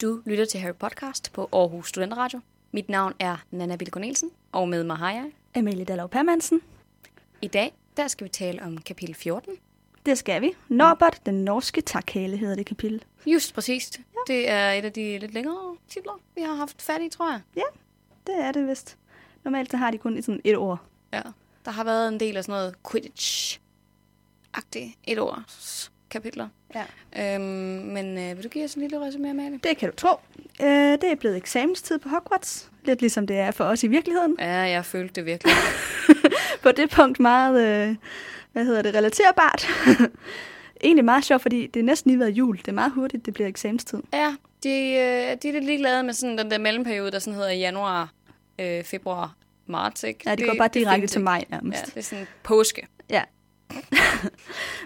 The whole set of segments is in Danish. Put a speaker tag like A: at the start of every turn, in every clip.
A: Du lytter til Harry Podcast på Aarhus Studenteradio. Mit navn er Nana Bilko Nielsen, og med mig har jeg.
B: Amalie Dallov Permansen.
A: I dag, der skal vi tale om kapitel 14.
B: Det skal vi. Norbert, den norske takhale, hedder det kapitel.
A: Just præcist. Ja. Det er et af de lidt længere titler, vi har haft fat i, tror jeg.
B: Det er det vist. Normalt så har de kun sådan et ord.
A: Ja. Der har været en del af sådan noget Quidditch-agtigt et års kapitler.
B: Ja.
A: Øhm, men øh, vil du give os en lille resume, Amalie?
B: Det kan du tro. Øh, det er blevet eksamenstid på Hogwarts. Lidt ligesom det er for os i virkeligheden.
A: Ja, jeg følte det virkelig.
B: På det punkt meget, øh, hvad hedder det, relaterbart. Egentlig meget sjovt, fordi det er næsten lige været jul. Det er meget hurtigt, det bliver eksamenstid.
A: ja, de, øh, de er lidt ligeglade med sådan den der mellemperiode, der sådan hedder januar, øh, februar, marts, ikke?
B: Ja, det, går bare direkte
A: findes
B: til
A: ikke.
B: mig
A: Ja,
B: nærmest.
A: det er sådan påske.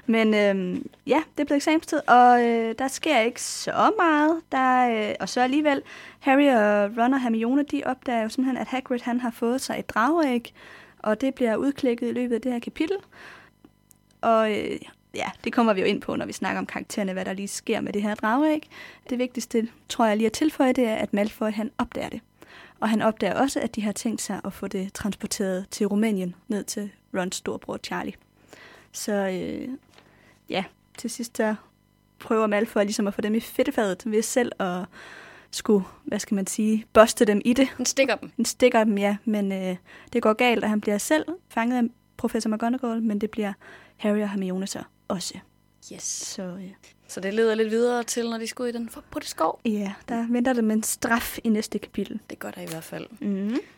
B: Men øhm, ja, det er blevet eksamenstid, og øh, der sker ikke så meget. Der, øh, og så alligevel, Harry og Ron og Hermione, de opdager jo simpelthen, at Hagrid han har fået sig et drageæg, og det bliver udklækket i løbet af det her kapitel. Og øh, ja, det kommer vi jo ind på, når vi snakker om karaktererne, hvad der lige sker med det her drageæg. Det vigtigste, tror jeg lige at tilføje, det er, at Malfoy han opdager det. Og han opdager også, at de har tænkt sig at få det transporteret til Rumænien, ned til Rons storbror Charlie. Så øh, ja, til sidst der prøver Malfoy ligesom at få dem i fedtefadet ved selv at skulle, hvad skal man sige, boste dem i det.
A: Den stikker dem.
B: Han stikker dem, ja, men øh, det går galt, og han bliver selv fanget af professor McGonagall, men det bliver Harry og Hermione så også.
A: Yes.
B: Så øh,
A: Så det leder lidt videre til, når de skal ud i den forbudte skov.
B: ja, der venter dem en straf i næste kapitel.
A: Det gør der i hvert fald.
B: Mm.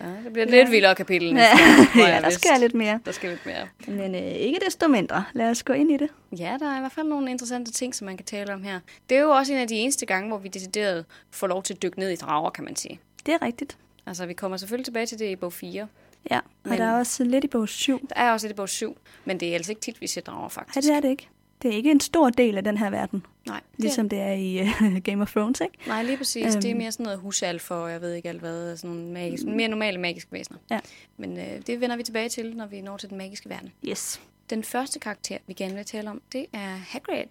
A: Ja, det bliver et lidt vildere kapitel.
B: Ja,
A: næste gang, tror
B: ja,
A: jeg
B: der
A: vist.
B: sker lidt mere.
A: Der skal lidt mere.
B: Men øh, ikke desto mindre. Lad os gå ind i det.
A: Ja, der er i hvert fald nogle interessante ting, som man kan tale om her. Det er jo også en af de eneste gange, hvor vi decideret får lov til at dykke ned i drager, kan man sige.
B: Det er rigtigt.
A: Altså, vi kommer selvfølgelig tilbage til det i bog 4.
B: Ja, og
A: Men-
B: men... der er også lidt i bog 7.
A: Der er også et i bog 7, men det er altså ikke tit, vi ser drager, faktisk.
B: Nej, det er det ikke. Det er ikke en stor del af den her verden.
A: Nej, det er-
B: Ligesom det er i uh, Game of Thrones, ikke?
A: Nej, lige præcis. Øhm. Det er
B: Øhm.
A: mere sådan noget husalfer, og jeg ved ikke alt hvad, sådan nogle magiske, mere normale magiske væsener.
B: Ja.
A: Men øh, det vender vi tilbage til, når vi når til den magiske verden.
B: Yes.
A: Den første karakter, vi gerne vil tale om, det er Hagrid.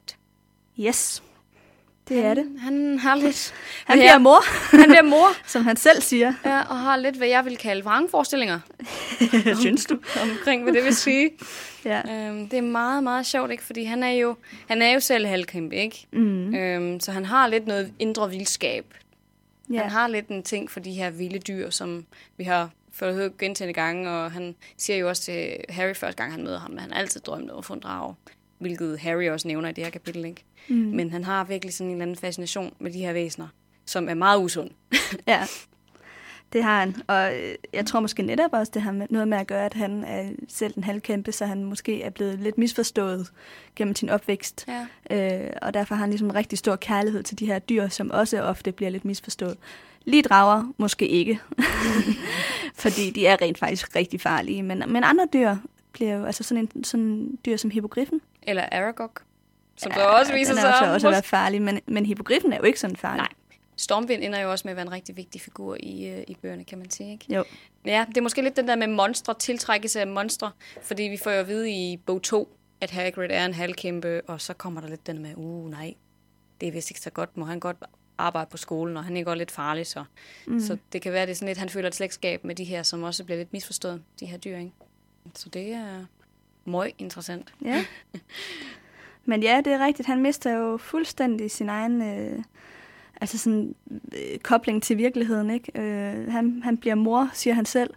B: Yes. Det er det.
A: Han, han har lidt...
B: Han
A: Ja,
B: bliver mor,
A: han bliver mor,
B: som han selv siger.
A: ja, og har lidt, hvad jeg vil kalde vrangforestillinger
B: Synes du?
A: omkring, hvad det vil sige.
B: Ja.
A: øhm, det er meget, meget sjovt, ikke? Fordi han er jo, han er jo selv halvkæmpe, ikke?
B: Mm.
A: Øhm, så han har lidt noget indre vildskab, Ja.
B: ja.
A: Han har lidt en ting for de her vilde dyr, som vi har fået at høre gentagende gange, og han siger jo også til Harry første gang, han møder ham, at han altid drømte om at få en drage, hvilket Harry også nævner i det her kapitel, ikke? Mm.
B: Mhm.
A: Men han har virkelig sådan en eller anden fascination med de her væsener, som er meget usund.
B: ja. Det har han. Og øh, jeg tror måske netop også, det har med- noget med at gøre, at han er selv en halvkæmpe, så han måske er blevet lidt misforstået gennem sin opvækst.
A: Ja.
B: Øh, og derfor har han ligesom en rigtig stor kærlighed til de her dyr, som også ofte bliver lidt misforstået. Lige drager, måske ikke. Fordi de er rent faktisk rigtig farlige. Men, men andre dyr bliver jo, altså sådan en sådan en dyr som hippogriffen,
A: Eller Aragog, som ja, der også viser
B: den
A: sig.
B: er jo så også
A: at
B: været farlig, men, men hippogriffen er jo ikke sådan farlig.
A: Nej. Stormvind ender jo også med at være en rigtig vigtig figur i, øh, i bøgerne, kan man sige, ikke?
B: Jo.
A: Ja, det er måske lidt den der med monstre, tiltrækkelse af monstre, fordi vi får jo at vide i bog 2, at Hagrid er en halvkæmpe, og så kommer der lidt den med, uh nej, det er vist ikke så godt, må han godt arbejde på skolen, og han er godt lidt farlig, så. Mm. så det kan være, det er sådan lidt, han føler et slægtskab med de her, som også bliver lidt misforstået, de her dyr, ikke? Så det er meget interessant.
B: Ja. Men ja, det er rigtigt. Han mister jo fuldstændig sin egen øh, altså sådan, øh, kobling til virkeligheden. Ikke? Øh, han, han bliver mor, siger han selv,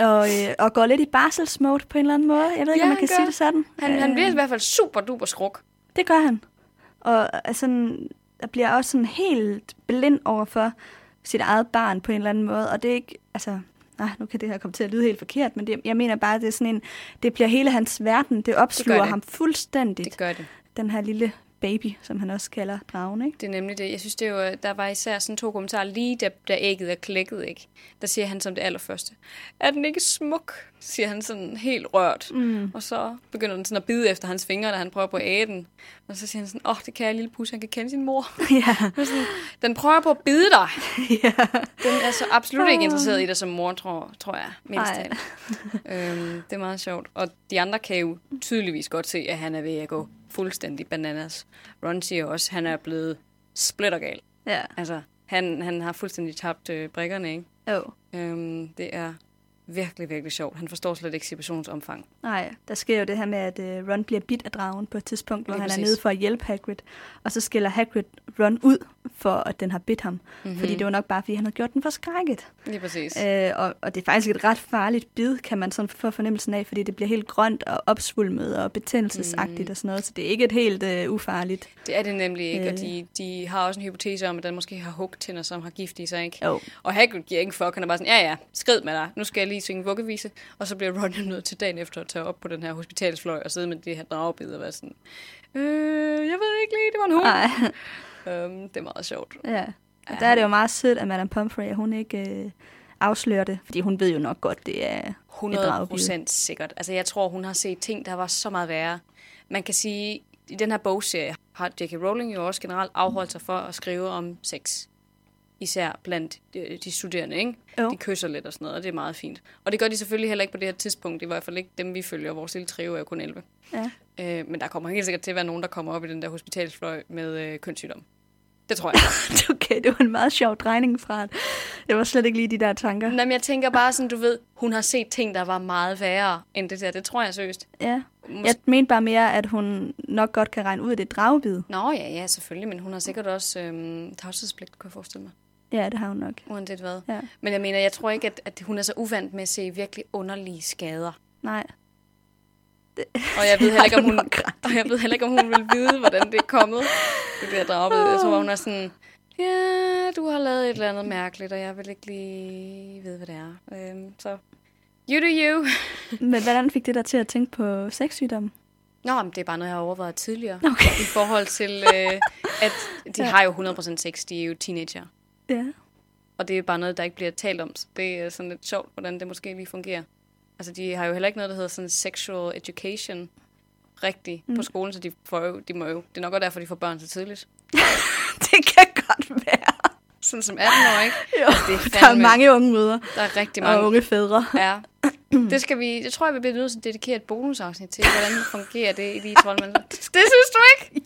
B: og, øh, og går lidt i barselsmode på en eller anden måde. Jeg ved ikke,
A: Ja, han
B: om man kan
A: gør.
B: sige det sådan.
A: Han, øh. han bliver i hvert fald super duper skruk.
B: Det gør han. Og er sådan, der bliver også sådan helt blind over for sit eget barn på en eller anden måde. Og det er ikke, altså, nej, nu kan det her komme til at lyde helt forkert, men det, jeg mener bare, at det er sådan en, det bliver hele hans verden, det opsluger det
A: det.
B: det. ham fuldstændigt.
A: Det gør det.
B: Den her lille baby, som han også kalder dragen, ikke?
A: Det er nemlig det. Jeg synes, det er jo, øh, der var især sådan to kommentarer lige, da, da ægget er klækket, ikke? Der siger han som det allerførste. Er den ikke smuk? Siger han sådan helt rørt. Mm. Og så begynder den sådan at bide efter hans fingre, da han prøver på at æge den. Og så siger han sådan, åh, oh, det kan jeg lille pus, han kan kende sin mor.
B: ja.
A: Og sådan, den prøver på at bide dig.
B: ja.
A: Den er så absolut ikke interesseret i dig som mor, tror, tror jeg. Mindst
B: Ej.
A: af alt. øhm, det er meget sjovt. Og de andre kan jo tydeligvis godt se, at han er ved at gå fuldstændig bananas. Ron siger også, at han er blevet splittergal.
B: Ja,
A: Altså, han, han har fuldstændig tabt øh, brikkerne, ikke?
B: jo.
A: Øhm, det er virkelig, virkelig sjovt. Han forstår slet ikke situationens omfang.
B: Nej, der sker jo det her med, at øh, Ron bliver bidt af dragen på et tidspunkt, hvor
A: Lige
B: han er
A: præcis.
B: nede for at hjælpe Hagrid. Og så skiller Hagrid Ron ud for, at den har bidt ham. Mm-hmm. Fordi det var nok bare, fordi han havde gjort den forskrækket.
A: Lige præcis.
B: Øh, og, og det er faktisk et ret farligt bid, kan man sådan få fornemmelsen af, fordi det bliver helt grønt og opsvulmet og betændelsesagtigt mm. og sådan noget. Så det er ikke et helt øh, ufarligt.
A: Det er det nemlig ikke, øh. og
B: Øh.
A: de, de har også en hypotese om, at den måske har hugtænder, som har gift i sig, ikke?
B: Jo.
A: Og Hagrid giver ikke en fuck, han er bare sådan, ja ja, skrid med dig, nu skal jeg lige synge vuggevise, og så bliver Ron jo nødt til dagen efter at tage op på den her hospitalsfløj og sidde med det her dragebid og være sådan, øh, jeg ved ikke lige, det var en hund.
B: Nej,
A: Øhm, det er meget sjovt.
B: ja. Og der er det jo meget sødt, at Madame Pomfrey, at hun ikke øh, afslører det. Fordi hun ved jo nok godt, det er
A: 100
B: dragebid.
A: procent sikkert. Altså, jeg tror, hun har set ting, der var så meget værre. Man kan sige, i den her bogserie har J.K. Rowling jo også generelt afholdt sig for at skrive om sex. Især blandt øh, de studerende, ikke?
B: Jo.
A: De kysser lidt og sådan noget, og det er meget fint. Og det gør de selvfølgelig heller ikke på det her tidspunkt. Det er i hvert fald ikke dem, vi følger. Vores lille trio er jo kun 11.
B: Ja.
A: Øh, men der kommer helt sikkert til at være nogen, der kommer op i den der hospitalsfløj med øh, kønssygdom. Det tror jeg.
B: Okay, det var en meget sjov drejning fra, at det var slet ikke lige de der tanker.
A: Nå, men jeg tænker bare sådan, du ved, hun har set ting, der var meget værre end det der. Det tror jeg seriøst.
B: Ja. Jeg mente bare mere, at hun nok godt kan regne ud, at det er dragebid.
A: Nå ja, ja, selvfølgelig, men hun har sikkert også øhm, tavshedspligt, kunne jeg forestille mig,
B: Ja, det har hun nok.
A: uanset hvad.
B: Ja.
A: Men jeg mener, jeg tror ikke, at, at hun er så uvant med at se virkelig underlige skader.
B: Nej.
A: Og jeg ved
B: har
A: heller ikke, om
B: du
A: hun,
B: nok ret
A: og jeg ved heller ikke, om hun vil vide, hvordan det er kommet. Det der dragbid. Jeg tror, hun er sådan, ja, du har lavet et eller andet mærkeligt, og jeg vil ikke lige vide, hvad det er. Øhm, så, you do you.
B: Men hvordan fik det dig til at tænke på sexsygdomme?
A: Nå, men det er bare noget, jeg har overvejet tidligere.
B: Okay.
A: I forhold til, øh, at de har jo 100% sex, de er jo teenager.
B: Ja.
A: Og det er bare noget, der ikke bliver talt om. Så det er sådan lidt sjovt, hvordan det måske lige fungerer. Altså, de har jo heller ikke noget, der hedder sådan sexual education rigtigt mm. på skolen, så de, får jo, de må jo. Det er nok også derfor, de får børn så tidligt.
B: det kan godt være.
A: Sådan som 18 år, ikke?
B: Jo,
A: det er
B: der er
A: fandme-
B: mange unge møder
A: Der er rigtig mange.
B: og unge fædre.
A: Ja. Det, skal vi, det tror jeg, vi bliver nødt til at dedikere et bonusafsnit til. Hvordan fungerer det i de troldmænd? Det synes du ikke?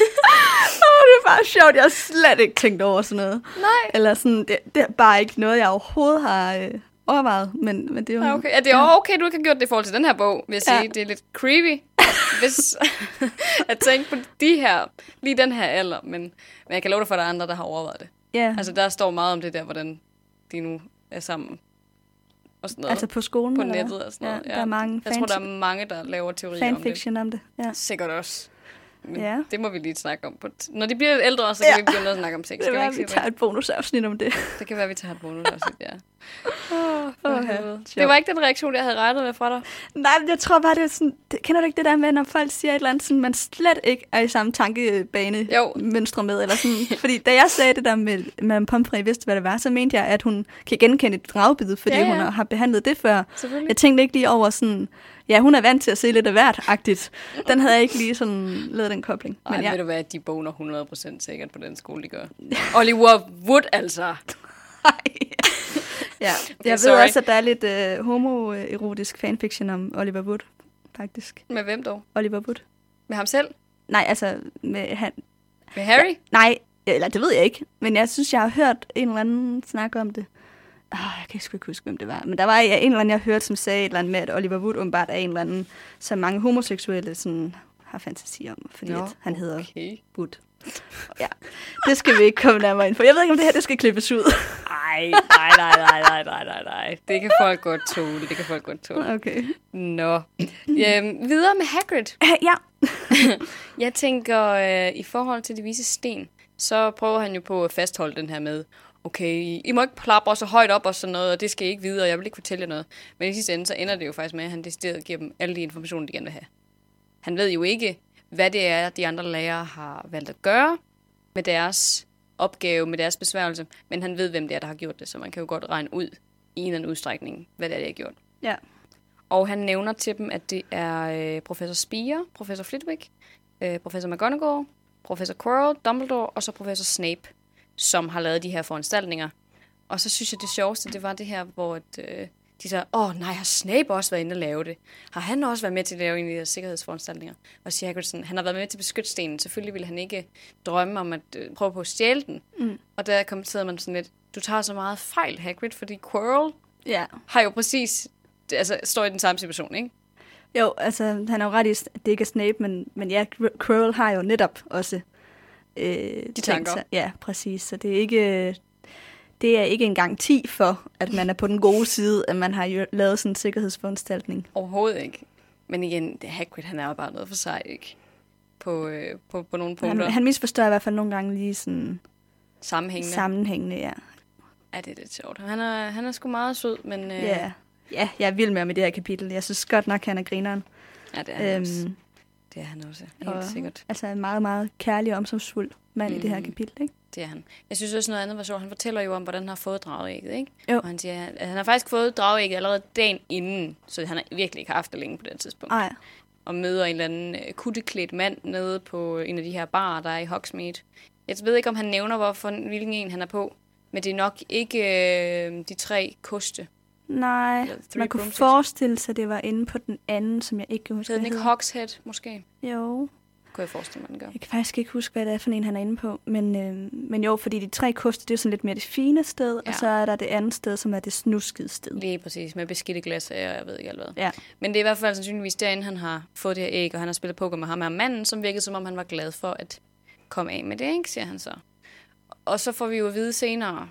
B: Åh, det er bare sjovt. Jeg har slet ikke tænkt over sådan noget.
A: Nej.
B: Eller sådan, det, det er bare ikke noget, jeg overhovedet har øh, overvejet. Men, men det er jo...
A: Ja, Ah, okay. Ja, det er okay, du ikke har gjort det i forhold til den her bog, vil jeg
B: Mm. Ja.
A: sige. Det er lidt creepy, hvis at tænke på de her, lige den her alder. Men, men jeg kan love dig for, at der er andre, der har overvejet det.
B: Ja, altså,
A: Altså, der står meget om det der, hvordan de nu er sammen og sådan noget.
B: altså på skolen.
A: på
B: eller hvad?
A: nettet og sådan noget.
B: Ja, der er mange
A: Jeg
B: fans,
A: tror, der er mange, der laver teorier om
B: fanfiction om det. Ja.
A: det. Sikkert også. Men
B: Ja.
A: det må vi lige snakke om. På t- Når de bliver lidt ældre, så kan
B: Ja.
A: ja. vi begynde at snakke om sex.
B: Det
A: Skal
B: kan
A: vi
B: være,
A: ikke
B: vi
A: sige
B: tager et bonusafsnit om det.
A: det? Det kan være, vi tager et bonus også, ja. Oh,
B: Åh,
A: det var ikke den reaktion, jeg havde regnet med fra dig.
B: Nej, men jeg tror bare, det er sådan... Det, kender du ikke det der med, når folk siger et eller andet, sådan, man slet ikke er i samme tankebane
A: Jo.
B: mønstre med? Eller sådan. Fordi da jeg sagde det der med, Madame Pomfrey vidste, hvad det var, så mente jeg, at hun kan genkende et dragbid, fordi
A: Ja,
B: ja,
A: ja.
B: ja. hun har behandlet det før.
A: Selvfølgelig.
B: Jeg tænkte ikke lige over sådan... Ja, hun er vant til at se lidt af hvert-agtigt. Den havde jeg ikke lige sådan lavet den kobling.
A: Ej,
B: Men
A: men
B: ja,
A: ved du hvad, de boner 100% sikkert på den skole, de gør. Oliver Wood, altså.
B: ja. jeg ved
A: sorry.
B: også, at der er lidt øh, homoerotisk fanfiction om Oliver Wood, faktisk.
A: Med hvem dog?
B: Oliver Wood.
A: Med ham selv?
B: Nej, altså, med, han,
A: Med Harry?
B: Nej, eller det ved jeg ikke. Men jeg synes, jeg har hørt en eller anden snakke om det. Oh, jeg kan sgu ikke huske, hvem det var. Men der var ja, en eller anden, jeg hørte, som sagde et eller andet med, at Oliver Wood åbenbart er en eller anden, som mange homoseksuelle sådan, har fantasi om, fordi
A: Nå,
B: at han hedder
A: Okay.
B: Wood. Ja, det skal vi ikke komme nærmere ind på. Jeg ved ikke, om det her det skal klippes ud.
A: Ej, nej, nej, nej, nej, nej, nej, nej. Det kan folk godt tåle, det kan folk godt tåle.
B: Okay.
A: Nå. Øhm, videre med Hagrid.
B: Ja.
A: Jeg tænker, øh, i forhold til de vise sten, så prøver han jo på at fastholde den her med, okay, I må ikke plapre så højt op og sådan noget, og det skal I ikke vide, og jeg vil ikke fortælle jer noget. Men i sidste ende, så ender det jo faktisk med, at han decideret giver dem alle de informationer, de gerne vil have. Han ved jo ikke, hvad det er, de andre lærere har valgt at gøre med deres opgave, med deres besværgelse, men han ved, hvem det er, der har gjort det, så man kan jo godt regne ud i en eller anden udstrækning, hvad det er, de har gjort.
B: Ja.
A: Og han nævner til dem, at det er øh, professor Spire, professor Flitwick, øh, professor McGonagall, professor Quirrell, Dumbledore og så professor Snape, som har lavet de her foranstaltninger. Og så synes jeg, det sjoveste, det var det her, hvor at, øh, de så, åh nej, har Snape også været inde og lave det? Har han også været med til at lave en af de her sikkerhedsforanstaltninger? Og siger Hagrid sådan, han har været med til beskyttestenen, selvfølgelig ville han ikke drømme om at øh, prøve på at stjæle den.
B: Mm.
A: Og der kommenterede man sådan lidt, du tager så meget fejl, Hagrid, fordi Quirrell
B: Ja.
A: har jo præcis, altså står i den samme situation, ikke?
B: Jo, altså, han har jo ret i, at det ikke er Snape, men, men ja, Gr- Quirrell har jo netop også... Øh, De
A: tanker.
B: ja, præcis. Så det er ikke... Det er ikke en garanti for, at man er på den gode side, at man har jo lavet sådan en sikkerhedsforanstaltning.
A: Overhovedet ikke. Men igen, det- Hagrid, han er jo bare noget for sig, ikke? På, øh, på, på nogle
B: Han,
A: punkter. Han, han...
B: han misforstår i hvert fald nogle gange lige sådan
A: Sammenhængende. Sam...
B: sammenhængende, ja.
A: Ja, det er lidt sjovt. Han er, han er sgu meget sød, men... Øh,
B: Ja. ja, jeg er vild med ham i det her kapitel. Jeg synes godt nok, han er grineren.
A: Ja, det er han øhm... også.
B: Øhm,
A: Det er han også. Helt
B: og-
A: sikkert.
B: altså en meget, meget kærlig og omsorgsfuld mand mm. i det her
A: Mhm.
B: kapitel, ikke?
A: Det er han. Jeg synes også noget andet var sjovt. Han fortæller jo om, hvordan han har fået drageægget, ikke?
B: Jo.
A: Og han siger, at han har faktisk fået drageægget allerede dagen inden, så han har virkelig ikke haft det længe på det her tidspunkt.
B: Ej,
A: og møder en eller anden øh, kutteklædt mand nede på en af de her barer, der er i Hogsmeade. Jeg ved ikke, om han nævner, hvorfor, hvilken en han er på, men det er nok ikke øh, de tre koste.
B: nej.
A: Eller Three
B: Man kunne
A: Broomsticks.
B: forestille sig, at det var inde på den anden, som jeg ikke kan huske,
A: Hedder den ikke
B: hedder.
A: Hogshead, måske?
B: Jo,
A: Kunne jeg forestille mig, den gør.
B: jeg kan faktisk ikke huske, hvad det er for en, han er inde på. Men, øh, men jo, fordi de tre koster, det er jo sådan lidt mere det fine sted, ja.
A: Ja.
B: og så er der det andet sted, som er det snuskede sted.
A: Lige præcis, med beskidte glas og jeg ved ikke alt hvad.
B: Ja.
A: Men det er i hvert fald sandsynligvis derinde, han har fået det her æg, og han har spillet poker med ham her manden, som virkede som om, han var glad for at komme af med det, ikke? siger han så. Og så får vi jo at vide senere,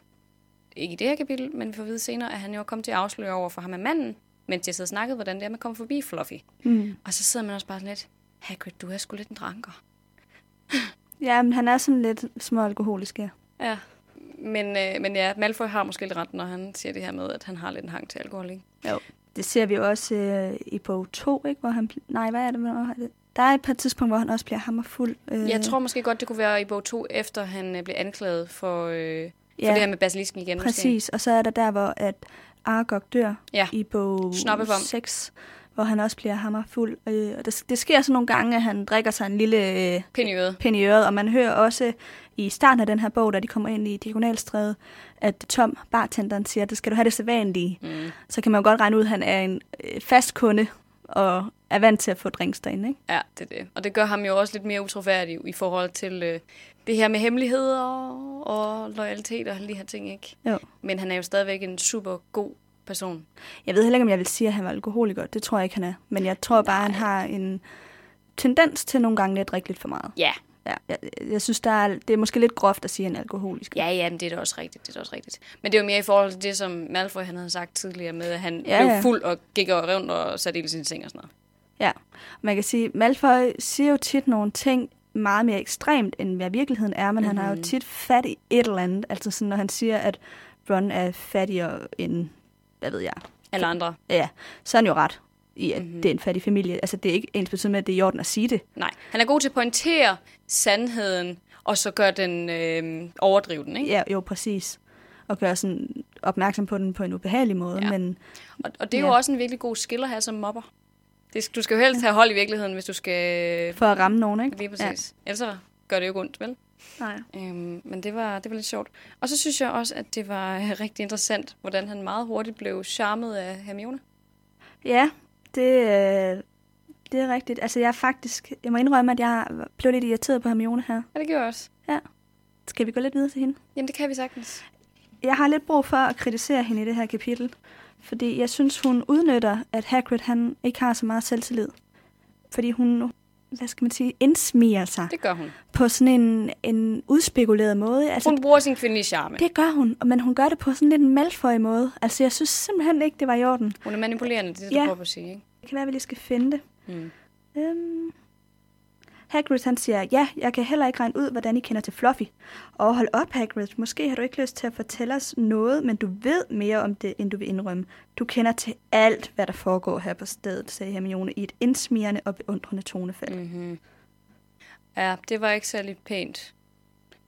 A: ikke i det her kapitel, men vi får at vide senere, at han jo er kommet til at afsløre over for ham af manden, mens jeg sad og snakkede, hvordan det er, man kommer forbi Fluffy.
B: Mm.
A: Og så sidder man også bare sådan lidt, Hagrid, du er sgu lidt en dranker.
B: Ja, men han er sådan lidt små alkoholisk, ja.
A: Ja. Men, øh, men ja, Malfoy har måske lidt ret, når han siger det her med, at han har lidt en hang til alkohol, ikke?
B: Det ser vi jo også øh, i bog 2, ikke? Hvor han... bl- Nej, hvad er det? Hvornår er det? Der er et par tidspunkter, hvor han også bliver hammerfuld. Øh,
A: Jeg tror måske godt, det kunne være i bog 2, efter han øh, blev anklaget for, øh, for
B: ja,
A: det her med basilisken igen. Måske.
B: præcis. Og så er der der, hvor at Aragog dør
A: Ja.
B: i bog
A: Snoppebom.
B: 6, hvor han også bliver hammerfuld. Øh, og det, det sker så nogle gange, at han drikker sig en lille... Øh,
A: Pind i øret.
B: pind i øret, og man hører også i starten af den her bog, da de kommer ind i Diagonalstræde, at Tom, bartenderen, siger, at det skal du have det sædvanlige.
A: Mm.
B: Så kan man jo godt regne ud, at han er en øh, fast kunde og er vant til at få drinks derinde, ikke?
A: Ja, det er det. Og det gør ham jo også lidt mere utroværdig i forhold til øh, det her med hemmeligheder og, og loyalitet og alle de her ting, ikke?
B: Jo.
A: Men han er jo stadigvæk en super god person.
B: Jeg ved heller ikke, om jeg vil sige, at han var alkoholiker. Det tror jeg ikke, han er. Men jeg tror bare, han har en tendens til nogle gange at drikke lidt for meget.
A: Ja.
B: Ja, jeg, jeg synes, der er, det er måske lidt groft at sige, at han er alkoholisk.
A: Ja, ja, men det er da også rigtigt, det er da også rigtigt. Men det er jo mere i forhold til det, som Malfoy han havde sagt tidligere med, at han
B: Ja,
A: ja, blev
B: ja.
A: fuld og gik og rundt og satte ild i sin seng og sådan noget.
B: Ja, man kan sige, Malfoy siger jo tit nogle ting meget mere ekstremt, end hvad virkeligheden er, men mm-hmm. han har jo tit fat i et eller andet. Altså sådan, når han siger, at Ron er fattigere end, hvad ved jeg,
A: Alle andre.
B: ja, så er han jo ret i, at mm-hmm. det er en fattig familie. Altså, det er ikke ens betydende med, at det er i orden at sige det.
A: Nej. Han er god til at pointere sandheden, og så gør den øh, overdrive den, ikke?
B: Ja, jo, præcis. Og gøre sådan opmærksom på den på en ubehagelig måde, ja.
A: Ja.
B: men
A: Og, og det er ja.
B: Ja.
A: jo også en virkelig god skill at have som mobber. Det, sk- du skal jo helst have hold i virkeligheden, hvis du skal... øh,
B: for at ramme nogen, ikke?
A: Lige præcis. Ja. Ellers så gør det jo ikke ondt, vel?
B: Ja. Nej.
A: Øhm, men det var, det var lidt sjovt. Og så synes jeg også, at det var øh, rigtig interessant, hvordan han meget hurtigt blev charmet af Hermione.
B: Ja, det, øh, det er rigtigt. Altså, jeg er faktisk, jeg må indrømme, at jeg blev lidt irriteret på Hermione her.
A: Ja, det gjorde jeg også.
B: Skal vi gå lidt videre til hende?
A: Jamen, det kan vi sagtens.
B: Jeg har lidt brug for at kritisere hende i det her kapitel, fordi jeg synes, hun udnytter, at Hagrid han ikke har så meget selvtillid. Fordi hun, hvad skal man sige, indsmiger sig
A: Det gør hun.
B: på sådan en, en udspekuleret måde. Altså,
A: Hun bruger sin kvindelige charme.
B: det gør hun, men hun gør det på sådan lidt en malføj måde. Altså, jeg synes simpelthen ikke, det var i orden.
A: Hun er manipulerende, det er det,
B: Ja.
A: du prøver på at sige, ikke?
B: Det kan være, at vi lige skal finde det.
A: Mm.
B: Øhm. Hagrid han siger, ja, jeg kan heller ikke regne ud, hvordan I kender til Fluffy. Og hold op, Hagrid, måske har du ikke lyst til at fortælle os noget, men du ved mere om det, end du vil indrømme. Du kender til alt, hvad der foregår her på stedet, sagde Hermione i et indsmirrende og beundrende tonefald. Mm.
A: Mm-hmm. Ja, det var ikke særlig pænt.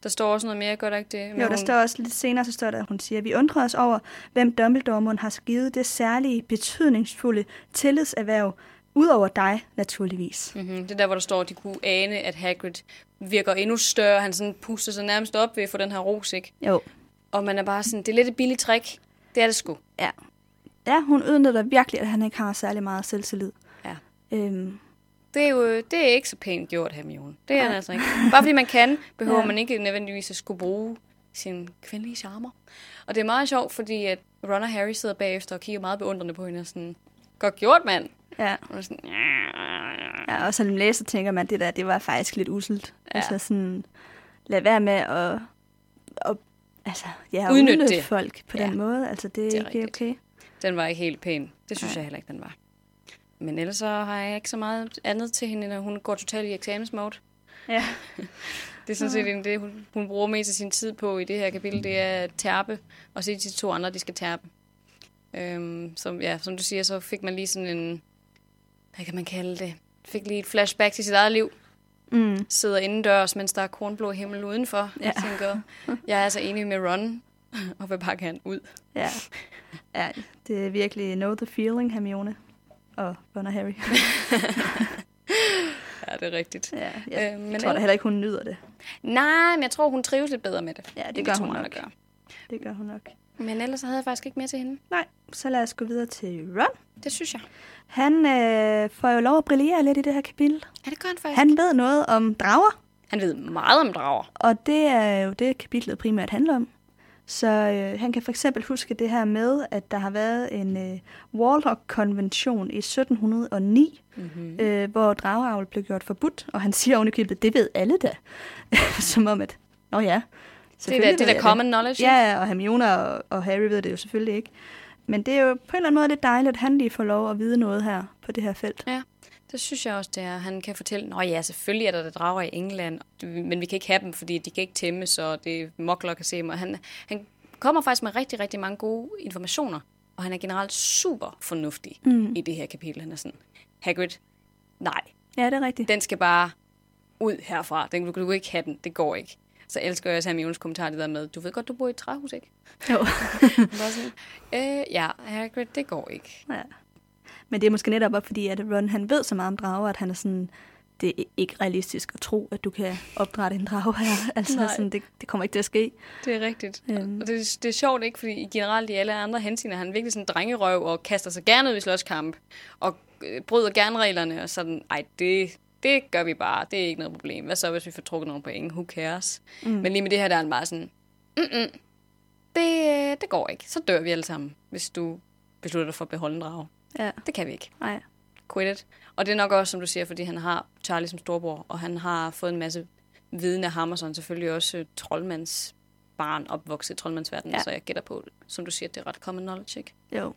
A: Der står også noget mere, gør der ikke det? Men
B: Jo, der står også lidt senere, så står der, at hun siger, vi undrer os over, hvem Dumbledore har givet det særlige, betydningsfulde tillidserhverv, udover dig, naturligvis.
A: Mm-hmm. Det er der, hvor der står, at de kunne ane, at Hagrid virker endnu større. Han sådan puster sig nærmest op ved at få den her ros, ikke?
B: Jo,
A: Og man er bare sådan, det er lidt et billigt trick. Det er det sgu.
B: Ja, Ja, hun udnytter virkelig, at han ikke har særlig meget selvtillid.
A: Ja.
B: Øhm,
A: Det er jo det er ikke så pænt gjort, Hermione. Det er han
B: Nej.
A: altså ikke. Bare fordi man kan, behøver
B: Ja.
A: ja. man ikke nødvendigvis at skulle bruge sin kvindelige charmer. Og det er meget sjovt, fordi at Ron og Harry sidder bagefter og kigger meget beundrende på hende og sådan, godt gjort, mand.
B: ja.
A: Og hun er sådan,
B: ja, og som læser tænker man, at det der, det var faktisk lidt uselt. Ja.
A: Ja.
B: Altså sådan, lad være med at, at altså, ja, at
A: Udnytte
B: udnytte
A: det.
B: folk på ja. den
A: Ja.
B: måde. Altså, det er, det
A: Det
B: er
A: er
B: ikke
A: rigtigt.
B: okay.
A: den var ikke helt pæn. Det synes
B: Nej.
A: Nej. jeg heller ikke, den var. Men ellers så har jeg ikke så meget andet til hende, når hun går totalt i eksamensmode.
B: Ja.
A: Det er sådan set egentlig det, hun, hun bruger mest af sin tid på i det her kapitel, det er at terpe, og se de to andre, de skal terpe. Øhm, som, ja, som du siger, så fik man lige sådan en, hvad kan man kalde det, fik lige et flashback til sit eget liv,
B: Mm.
A: sidder indendørs, mens der er kornblå himmel udenfor. Ja. Jeg
B: Ja.
A: tænker, jeg er altså enig med Ron, og vil bare gerne ud.
B: Ja. ja, det er virkelig know the feeling, Hermione. Og Ron og Harry.
A: Ja, det er rigtigt.
B: ja,
A: Øh,
B: jeg øh,
A: men
B: tror da
A: ellers-
B: heller ikke, hun nyder det.
A: Nej, men jeg tror, hun trives lidt bedre med det.
B: Ja, det
A: end
B: gør
A: de to
B: hun
A: andre
B: nok. Det gør hun nok.
A: Men ellers så havde jeg faktisk ikke mere til hende.
B: Nej, så lad os gå videre til Ron.
A: Det synes jeg.
B: Han øh, får jo lov at brillere lidt i det her kapitel.
A: Ja, det gør han faktisk. Han,
B: Han ved noget om drager,
A: han ved meget om drager.
B: Og det er jo det, kapitlet primært handler om. Så øh, han kan for eksempel huske det her med, at der har været en øh, Warlock-konvention i 1709,
A: Mm-hmm.
B: øh, hvor drageavl blev gjort forbudt, og han siger ovenikøbet, det ved alle da. Som om at, nå ja,
A: Det er da,
B: selvfølgelig
A: det
B: ved
A: er da
B: jeg
A: common knowledge. ikke?
B: Ja, og Hermione og, og Harry ved det jo selvfølgelig ikke. Men det er jo på en eller anden måde lidt dejligt, at han lige får lov at vide noget her på det her felt.
A: Det synes jeg også, det er. Han kan fortælle, nå ja, selvfølgelig er der, der drager i England, men vi kan ikke have dem, fordi de kan ikke tæmmes, og det mokler kan se dem. Og han, han kommer faktisk med rigtig, rigtig mange gode informationer, og han er generelt super fornuftig
B: Mm.
A: mm. i det her kapitel. Han er sådan, Hagrid, nej,
B: Ja, det er rigtigt.
A: den skal bare ud herfra. Den, du, du kan ikke have den, det går ikke. Så elsker jeg også Hermiones kommentar, det der med, du ved godt, du bor i et træhus, ikke?
B: Jo.
A: Hun var sådan, øh, ja, Hagrid, det går ikke.
B: Ja. Men det er måske netop også fordi, at Ron han ved så meget om drager, at han er sådan, det er ikke realistisk at tro, at du kan opdrætte en drage her. Altså
A: Nej.
B: sådan, det, det kommer ikke til at ske.
A: Det er rigtigt.
B: Øhm.
A: Og det, det er sjovt, ikke? Fordi generelt i alle andre hensigner, han er virkelig sådan en drengerøv og kaster sig gerne ud i slåskamp og øh, bryder gerne reglerne og sådan, ej, det, det gør vi bare. Det er ikke noget problem. Hvad så, hvis vi får trukket nogle point? Who cares?
B: Mm.
A: Mm. Men lige med det her, der er han bare sådan, Mm-mm, det, øh, det går ikke. Så dør vi alle sammen, hvis du beslutter dig for at beholde en drage.
B: Ja,
A: Det kan vi ikke.
B: nej.
A: quit it. Og det er nok også, som du siger, fordi han har Charlie som storbror, og han har fået en masse viden af ham, og så er han selvfølgelig også øh, troldmands barn opvokset i troldmandsverdenen,
B: Ja.
A: ja. så jeg gætter på, som du siger, det er ret common knowledge, ikke?
B: Jo.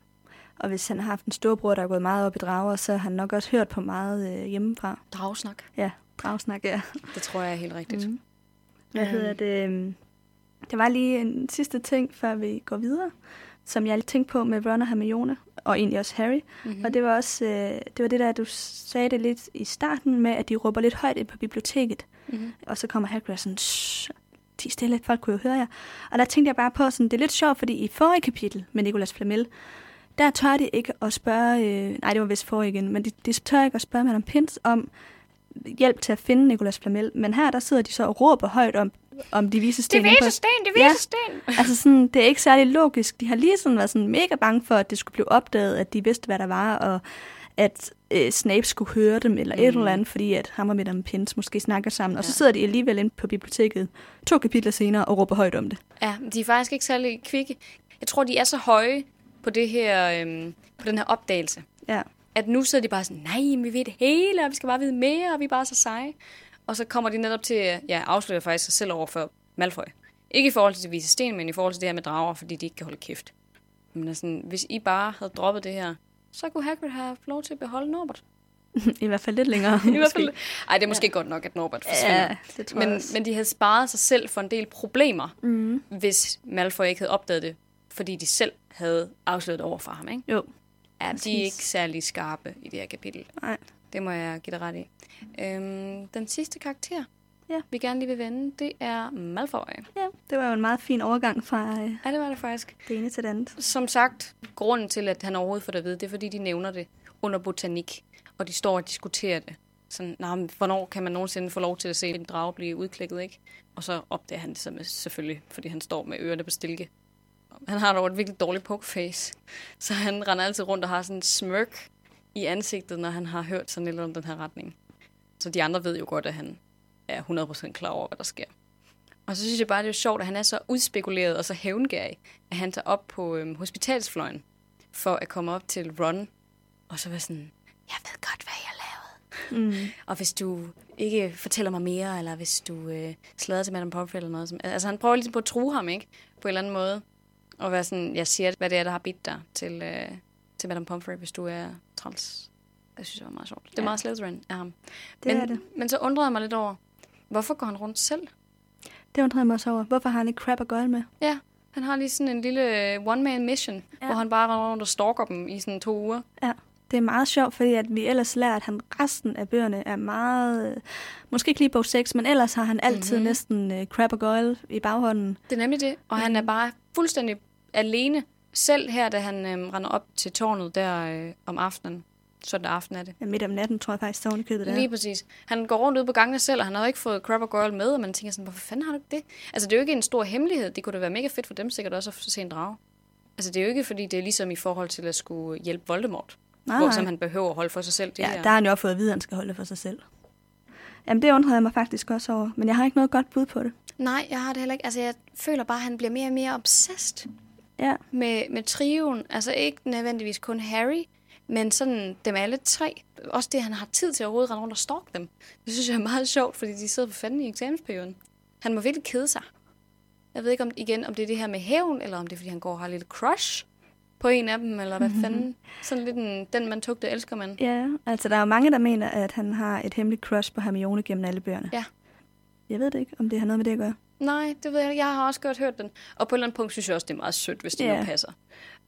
B: Og hvis han har haft en storbror, der er gået meget op i drager, så har han nok også hørt på meget øh, hjemmefra.
A: Dragsnak.
B: Ja, dragsnak, ja.
A: Det tror jeg er helt rigtigt. Mm.
B: Hvad hedder det? øhm, Der var lige en sidste ting, før vi går videre, som jeg tænkte på med Ron og Hermione, og egentlig også Harry.
A: Mm-hmm.
B: Og det var også øh, det var det der, du sagde det lidt i starten med, at de råber lidt højt ind på biblioteket.
A: Mm-hmm.
B: Og så kommer Hagrid og sådan, "Shh, ti stille, folk kunne jo høre jer. Og der tænkte jeg bare på, sådan, det er lidt sjovt, fordi i forrige kapitel med Nicolas Flamel, der tør de ikke at spørge, øh, nej det var vist forrige igen, men de, de tør ikke at spørge Madame Pins om hjælp til at finde Nicolas Flamel. Men her, der sidder de så og råber højt om, om de viser sten. inde på-
A: sten, det
B: viser Ja.
A: sten!
B: Altså sådan, det er ikke særlig logisk. De har lige sådan været sådan mega bange for, at det skulle blive opdaget, at de vidste, hvad der var, og at øh, Snape skulle høre dem, eller mm. et eller andet, fordi at ham og Madame Pins måske snakker sammen. Og så
A: Ja.
B: sidder de alligevel inde på biblioteket to kapitler senere og råber højt om det.
A: Ja, de er faktisk ikke særlig kvikke. Jeg tror, de er så høje på, det her, øhm, på den her opdagelse,
B: Ja,
A: at nu sidder de bare sådan, nej, men vi ved det hele, og vi skal bare vide mere, og vi er bare så seje. Og så kommer de netop til, at ja, afslører faktisk sig selv over for Malfoy. Ikke i forhold til Vise Sten, men i forhold til det her med drager, fordi de ikke kan holde kæft. Men er sådan, hvis I bare havde droppet det her, så kunne Hagrid have haft lov til at beholde Norbert.
B: i hvert fald lidt længere.
A: I hvert fald, ej, det er måske ja. godt nok, at Norbert forsvinder.
B: Ja,
A: Ja,
B: det tror men, jeg
A: men,
B: også.
A: men de havde sparet sig selv for en del problemer,
B: Men, mm.
A: hvis Malfoy ikke havde opdaget det, fordi de selv havde afsløret det over for ham. Ikke?
B: Jo,
A: Ja, de
B: Præcis.
A: er ikke særlig skarpe i det her kapitel.
B: nej.
A: Det må jeg give dig ret i. Øhm, den sidste karakter,
B: Ja.
A: vi gerne lige vil vende, det er Malfoy.
B: Ja, det var jo en meget fin overgang fra øh,
A: Ja, det var det faktisk.
B: det ene til det andet.
A: Som sagt, grunden til, at han overhovedet får det at vide, det er, fordi de nævner det under botanik, og de står og diskuterer det. Sådan, nah, men hvornår kan man nogensinde få lov til at se en drage blive udklækket, ikke? Og så opdager han det så med, selvfølgelig, fordi han står med ørerne på stilke han har dog et virkelig dårligt pokerface. Så han render altid rundt og har sådan en smirk i ansigtet, når han har hørt sådan lidt om den her retning. Så de andre ved jo godt, at han er 100% klar over, hvad der sker. Og så synes jeg bare, det er sjovt, at han er så udspekuleret og så hævngærig, at han tager op på øhm, hospitalsfløjen for at komme op til Ron. Og så være sådan, jeg ved godt, hvad jeg lavede. Mm. og hvis du ikke fortæller mig mere, eller hvis du øh, slader til Madame Pomfrey eller noget. Som, altså han prøver ligesom på at true ham, ikke? På en eller anden måde. Og være sådan, jeg siger, hvad det er, der har bidt dig til, øh, til Madame Pomfrey, hvis du er træls. Jeg synes, det var meget sjovt. Det er
B: Ja.
A: ja. meget Slytherin af ham.
B: Det
A: men,
B: er det.
A: men så undrede jeg mig lidt over, hvorfor går han rundt selv?
B: Det undrede jeg mig også over. Hvorfor har han ikke crap at gøre med?
A: Ja, han har lige sådan en lille øh, one-man mission,
B: Ja.
A: ja. hvor han bare render rundt og stalker dem i sådan to uger.
B: Ja, det er meget sjovt, fordi at vi ellers lærer, at han resten af bøgerne er meget... øh, Måske ikke lige bog 6, men ellers har han altid
A: Mhm.
B: mm-hmm. næsten øh, crap og gøjle i baghånden.
A: Det er nemlig det, Mm. og han er bare fuldstændig alene. Selv her, da han øh, render op til tårnet der øh, om aftenen, søndag aften er det.
B: Ja, Øh, midt om natten, tror jeg faktisk, så købet
A: Ja.
B: der.
A: Lige præcis. Han går rundt ude på gangene selv, og han har jo ikke fået Crab og Girl med, og man tænker sådan, hvorfor fanden har du ikke det? Altså, det er jo ikke en stor hemmelighed. Det kunne da være mega fedt for dem sikkert også at se en drage. Altså, det er jo ikke, fordi det er ligesom i forhold til at skulle hjælpe Voldemort,
B: Nej,
A: hvor
B: nej.
A: som han behøver at holde for sig selv. Det
B: Ja,
A: her.
B: der har han jo også fået at vide, at han skal holde det for sig selv. Jamen, det undrede jeg mig faktisk også over, men jeg har ikke noget godt bud på det.
A: Nej, jeg har det heller ikke. Altså, jeg føler bare, at han bliver mere og mere obsessed
B: Ja,
A: med, med trioen. Altså, ikke nødvendigvis kun Harry, men sådan dem alle tre. Også det, at han har tid til at overhovedet rende rundt og stalke dem. Det synes jeg er meget sjovt, fordi de sidder på fanden i eksamensperioden. Han må virkelig kede sig. Jeg ved ikke om, igen, om det er det her med hævn, eller om det er, fordi han går og har et lille crush på en af dem, eller hvad fanden. Sådan lidt en, den man tugte, elsker man.
B: ja. Altså, der er jo mange, der mener, at han har et hemmeligt crush på Hermione gennem alle bøgerne.
A: Ja.
B: Jeg ved det ikke, om det har noget med det at gøre.
A: Nej, det ved jeg ikke. Jeg har også godt hørt den. Og på et eller andet punkt synes jeg også, det er meget sødt, hvis det
B: Ja.
A: yeah. nu passer.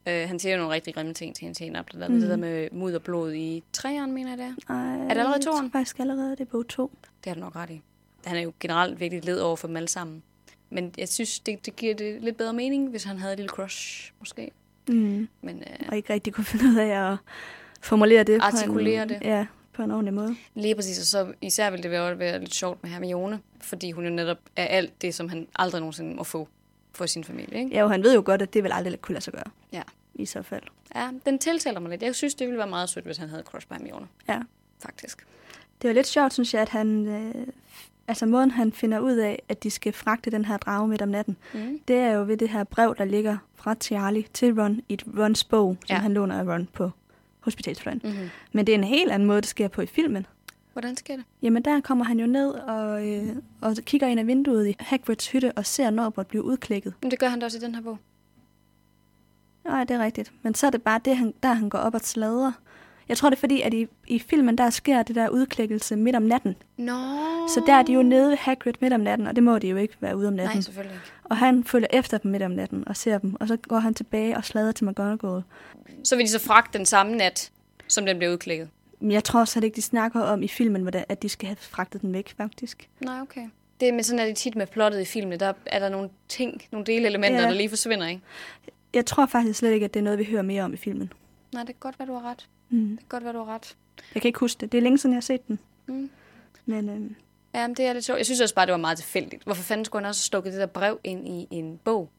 A: Øh, han siger jo nogle rigtig grimme ting til hende senere. Blandt andet mm. det der med mud og blod i træerne, mener jeg det er.
B: Ej, er
A: det allerede
B: jeg tror
A: toeren?
B: faktisk allerede, det er bog 2.
A: Det har du nok ret i. Han er jo generelt virkelig led over for dem alle sammen. Men jeg synes, det, det giver det lidt bedre mening, hvis han havde et lille crush, måske.
B: Mm.
A: Men øh,
B: og ikke rigtig kunne finde ud af at formulere det.
A: Artikulere
B: på en,
A: det.
B: Ja, på en ordentlig måde.
A: lige præcis, og så især ville det være, være lidt sjovt med Hermione, fordi hun jo netop er alt det, som han aldrig nogensinde må få for sin familie. Ikke?
B: Ja, jo, han ved jo godt, at det vil aldrig kunne lade sig gøre.
A: Ja.
B: I så fald.
A: ja, den tiltaler mig lidt. Jeg synes, det ville være meget sødt, hvis han havde et crush på Hermione,
B: Ja.
A: faktisk.
B: Det var lidt sjovt, synes jeg, at han... Øh, altså måden, han finder ud af, at de skal fragte den her drage midt om natten,
A: Mm.
B: det er jo ved det her brev, der ligger fra Charlie til Ron i et Rons bog, som ja.
A: Ja.
B: han låner af Ron på hospitalsfløjen. Mm.
A: Mm-hmm.
B: Men det er en helt anden måde, det sker på i filmen.
A: Hvordan sker det?
B: Jamen, der kommer han jo ned og, øh, og kigger ind af vinduet i Hagrids hytte og ser Norbert blive udklækket.
A: Men det gør han da også i den her bog.
B: Nej, det er rigtigt. Men så er det bare det, han, der han går op og sladrer. Jeg tror, det er fordi, at i, i filmen, der sker det der udklækkelse midt om natten.
A: Nå.
B: Så der er de jo nede ved Hagrid midt om natten, og det må de jo ikke være ude om natten.
A: Nej,
B: Nej.
A: selvfølgelig ikke.
B: Og han følger efter dem midt om natten og ser dem, og så går han tilbage og sladrer til McGonagall.
A: Så vil de så fragte den samme nat, som den blev udklækket.
B: Men jeg tror slet ikke, de snakker om i filmen, hvordan, at de skal have fragtet den væk, faktisk.
A: Nej, okay. Det er med sådan, at det tit med plottet i filmene, der er der nogle ting, nogle delelementer,
B: Ja.
A: ja. der lige forsvinder, ikke?
B: Jeg tror faktisk slet ikke, at det er noget, vi hører mere om i filmen.
A: Nej, det er godt, hvad du har ret.
B: Mm.
A: Det er godt, hvad du har ret.
B: Jeg kan ikke huske det. Det er længe siden, jeg har set den.
A: Mm.
B: Men øhm,
A: Ja, men det er lidt sjovt. Jeg synes også bare, det var meget tilfældigt. Hvorfor fanden skulle han også stukke det der brev ind i en bog?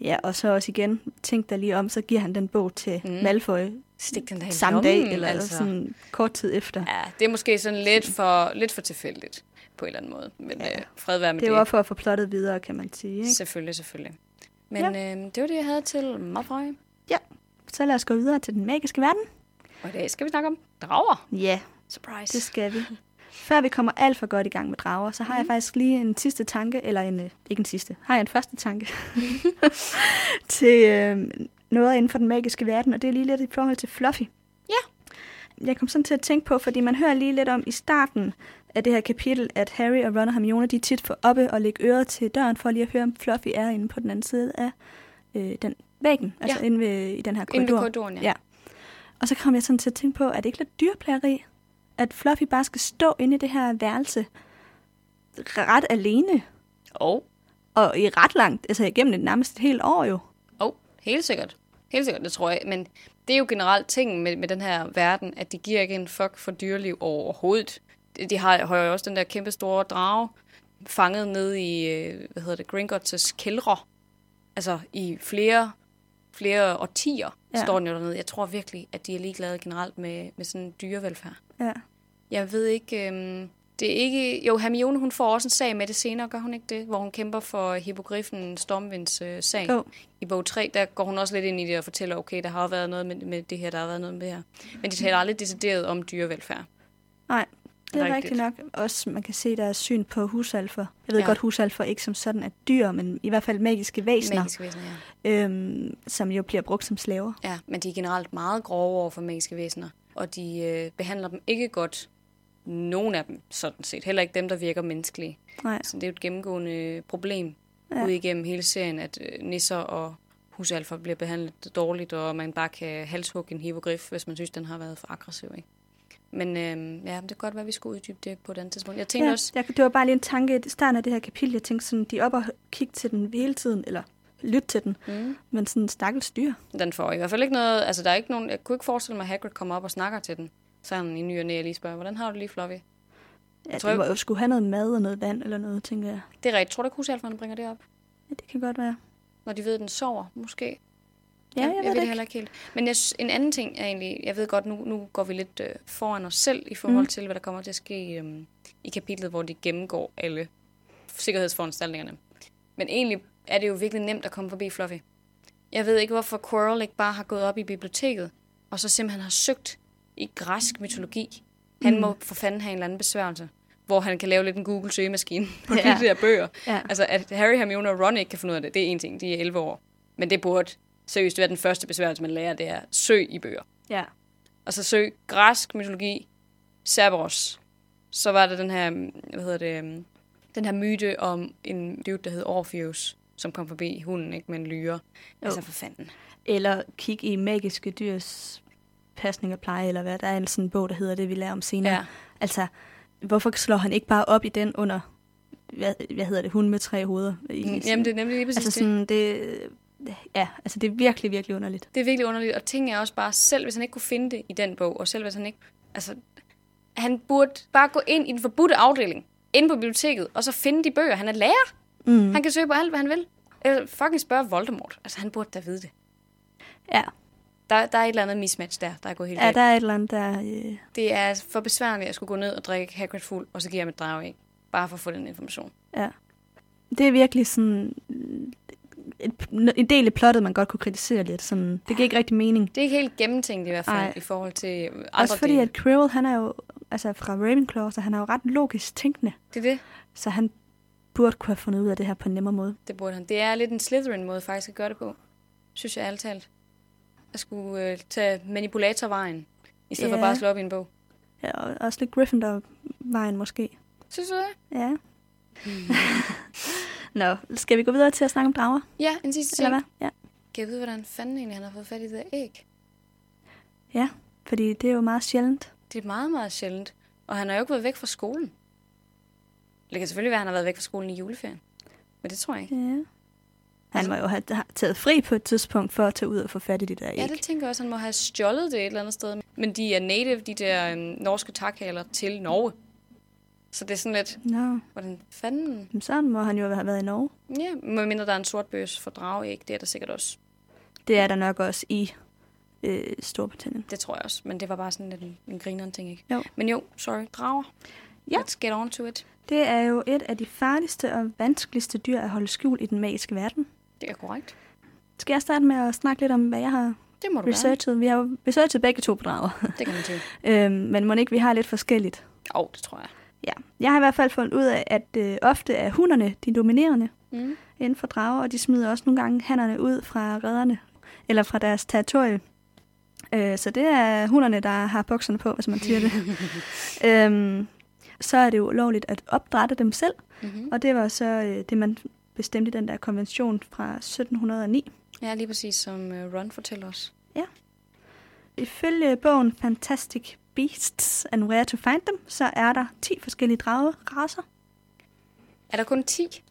B: ja, og så også igen, tænk dig lige om, så giver han den bog til mm. Malfoy,
A: Stik den der i
B: samme
A: lommen,
B: dag, eller altså. sådan kort tid efter. Ja,
A: Ja, det er måske sådan lidt for, lidt for tilfældigt på en eller anden måde. Men ja. øh, fred være med
B: det
A: det.
B: var for at få plottet videre, kan man sige. Ikke?
A: Selvfølgelig, selvfølgelig. Men ja. øh, det var det, jeg havde til Malfoy.
B: Ja. Så lad os gå videre til den magiske verden.
A: Og i dag skal vi snakke om drager.
B: Ja,
A: Surprise.
B: det skal vi. Før vi kommer alt for godt i gang med drager, så har jeg faktisk lige en sidste tanke, eller en, øh, ikke en sidste, har jeg en første tanke til øh, noget inden for den magiske verden, og det er lige lidt i forhold til Fluffy.
A: Ja.
B: Jeg kom sådan til at tænke på, fordi man hører lige lidt om i starten af det her kapitel, at Harry og Ron og Hermione, de tit får oppe og lægge øret til døren, for lige at høre, om Fluffy er inde på den anden side af øh, den væggen, altså ja.
A: Ja.
B: inde ved, i den her korridor.
A: Inden ved korridoren, ja.
B: Ja. Og så kom jeg sådan til at tænke på, er det ikke lidt dyrplageri, at Fluffy bare skal stå inde i det her værelse ret alene,
A: Og
B: og i ret langt, altså igennem det nærmest et helt år jo.
A: Oh, helt sikkert. Helt sikkert, det tror jeg. Men det er jo generelt ting med, med den her verden, at de giver ikke en fuck for dyreliv overhovedet. De- De har, har jo også den der kæmpe store drage fanget ned i, øh, hvad hedder det, Gringotts kældre. altså i flere, flere årtier,
B: Ja.
A: ja. står den jo dernede. Jeg tror virkelig, at de er ligeglade generelt med, med sådan dyrevelfærd.
B: Ja.
A: Jeg ved ikke, øhm, det er ikke... Jo, Hermione, hun får også en sag med det senere, gør hun ikke det? Hvor hun kæmper for hippogriffen Stormvinds øh, sag.
B: Jo.
A: I bog 3, der går hun også lidt ind i det og fortæller, okay, der har jo været noget med, med det her, der har været noget med det her. Men de
B: Mm.
A: taler aldrig decideret om dyrevelfærd.
B: Nej, det er rigtigt
A: Rigtigt.
B: nok. Også man kan se deres syn på husalfer. Jeg ved ja.
A: Ja.
B: godt, husalfer ikke som sådan er dyr, men i hvert fald magiske væsener,
A: Magiske væsener, ja.
B: øhm, som jo bliver brugt som slaver.
A: Ja, men de er generelt meget grove over for magiske væsener, og de øh, behandler dem ikke godt. Nogen af dem, sådan set. Heller ikke dem, der virker menneskelige.
B: Nej.
A: Så Altså, det er jo et gennemgående øh, problem
B: Ja.
A: ja. ude igennem hele serien, at øh, nisser og husalfer bliver behandlet dårligt, og man bare kan halshugge en hippogriff, hvis man synes, den har været for aggressiv. Ikke? Men øh, ja, det kan godt være, at vi skal uddybe det på et andet tidspunkt. Jeg tænkte ja.
B: Ja,
A: også,
B: jeg, det var bare lige en tanke i starten af det her kapitel. Jeg tænkte sådan, de er oppe og kigge til den hele tiden, eller lytte til den,
A: mm,
B: men sådan en stakkels dyr.
A: den får i hvert fald ikke noget... Altså, der er ikke nogen... Jeg kunne ikke forestille mig, at Hagrid kommer op og snakker til den. Sådan i ny og næ, jeg lige spørger, hvordan har du det lige, Fluffy?
B: Ja,
A: Tror
B: de
A: jeg-
B: må jo skulle have noget mad og noget vand eller noget, tænker jeg.
A: Det er rigtigt. Tror du ikke, husalferne bringer det op?
B: Ja, det kan godt være.
A: Når de ved, at den sover, måske.
B: Ja, jeg,
A: jeg
B: ved
A: det
B: det
A: heller
B: ikke.
A: ikke helt. Men jeg, synes- en anden ting er egentlig, jeg ved godt, nu, nu går vi lidt øh, foran os selv i forhold
B: Mm.
A: mm. til, hvad der kommer til at ske øhm, i kapitlet, hvor de gennemgår alle sikkerhedsforanstaltningerne. Men egentlig er det jo virkelig nemt at komme forbi Fluffy. Jeg ved ikke, hvorfor Quirrell ikke bare har gået op i biblioteket, og så simpelthen har søgt i græsk mytologi. Han
B: Mm.
A: mm. må for fanden have en eller anden besværgelse, hvor han kan lave lidt en Google-søgemaskine på
B: Ja.
A: ja. de der bøger.
B: Ja.
A: Altså, at Harry, Hermione og Ron ikke kan finde ud af det, det er en ting. De er 11 år. Men det burde seriøst være den første besværgelse, man lærer, det er søg i bøger.
B: Ja.
A: Og så søg græsk mytologi, Cerberus. Så var der den her, mm, hvad hedder det, mm, den her myte om en dude, der hed Orpheus, som kom forbi hunden, ikke, med en lyre. Altså, for fanden.
B: Eller kigge i magiske dyrs pasning og pleje, eller hvad. Der er en sådan bog, der hedder det, vi lærer om senere.
A: Ja.
B: Altså, hvorfor slår han ikke bare op i den under, hvad, hvad hedder det, hun med tre hoveder? I,
A: Mm, Jamen, det er nemlig lige præcis
B: altså
A: det.
B: sådan, det, ja, altså det er virkelig, virkelig underligt.
A: Det er virkelig underligt, og ting er også bare, selv hvis han ikke kunne finde det i den bog, og selv hvis han ikke... Altså, han burde bare gå ind i den forbudte afdeling, inde på biblioteket, og så finde de bøger. Han er lærer.
B: Mm.
A: Han kan søge på alt, hvad han vil. Eller fucking spørge Voldemort. Altså, han burde da vide det.
B: Ja,
A: Der, der er et eller andet mismatch der, der er gået helt
B: ja
A: galt.
B: der er et eller andet, der... Øh,
A: Det er for besværligt at skulle gå ned og drikke Hagrid fuld, og så give ham et drag af. Bare for at få den information.
B: ja. Det er virkelig sådan... mm, et- En del af plottet, man godt kunne kritisere lidt. Sådan, det giver ikke rigtig mening.
A: Det er ikke helt gennemtænkt i hvert fald,
B: Ej.
A: i forhold til andre
B: Også fordi,
A: dele.
B: at Quirrell, han er jo altså fra Ravenclaw, så han er jo ret logisk tænkende.
A: Det er det.
B: Så han burde kunne have fundet ud af det her på en nemmere måde.
A: Det burde han. Det er lidt en Slytherin-måde faktisk at gøre det på, synes jeg ærligt talt. At skulle øh, tage manipulatorvejen, i stedet yeah.
B: Ja.
A: for bare at slå op i en bog.
B: Ja, og også lidt Gryffindor-vejen måske.
A: Synes du det?
B: Ja. Mm. Nå, skal vi gå videre til at snakke om drager?
A: Ja, en sidste ting.
B: Eller hvad? Ja.
A: Kan jeg vide, hvordan fanden egentlig han har fået fat i det der æg?
B: ja, fordi det er jo meget sjældent.
A: Det er meget, meget sjældent. Og han har jo ikke været væk fra skolen. Eller Det kan selvfølgelig være, at han har været væk fra skolen i juleferien. Men det tror jeg ikke.
B: Ja. Han må jo have have taget fri på et tidspunkt for at tage ud og få fat i det der æg.
A: Ja, det tænker jeg også. Han må have stjålet det et eller andet sted. Men de er native, de der øhm, norske takhaler, til Norge. Så det er sådan lidt,
B: Nå,
A: hvordan fanden
B: men sådan må han jo have været i Norge.
A: Ja, medmindre der er en sortbøs for drageæg, det er der sikkert også.
B: Det er der nok også i øh, Storbritannien.
A: Det tror jeg også, men det var bare sådan lidt en, en grineren ting, ikke?
B: Jo.
A: Men jo, sorry, drager.
B: Ja.
A: Let's get on to it.
B: Det er jo et af de farligste og vanskeligste dyr at holde skjult i den magiske verden.
A: Det er korrekt.
B: Skal jeg starte med at snakke lidt om, hvad jeg har
A: Det må du Research.
B: researchet? Vi har jo researchet begge to på drager,
A: være. Det kan man til.
B: øhm, men må ikke vi har lidt forskelligt?
A: Åh, oh, det tror jeg.
B: Ja, jeg har i hvert fald fundet ud af, at øh, ofte er hunderne de dominerende
A: Mm.
B: inden for drager, og de smider også nogle gange hannerne ud fra redderne, eller fra deres territorie. Øh, så det er hunderne, der har bukserne på, hvis man siger det. øhm, så er det jo ulovligt at opdrætte dem selv,
A: Mm-hmm.
B: Og det var så øh, det, man bestemte i den der konvention fra 1709.
A: Ja, lige præcis som øh, Ron fortæller os.
B: Ifølge bogen Fantastic Beasts and Where to Find Them, så er der 10 forskellige drageraser,
A: Er der kun 10?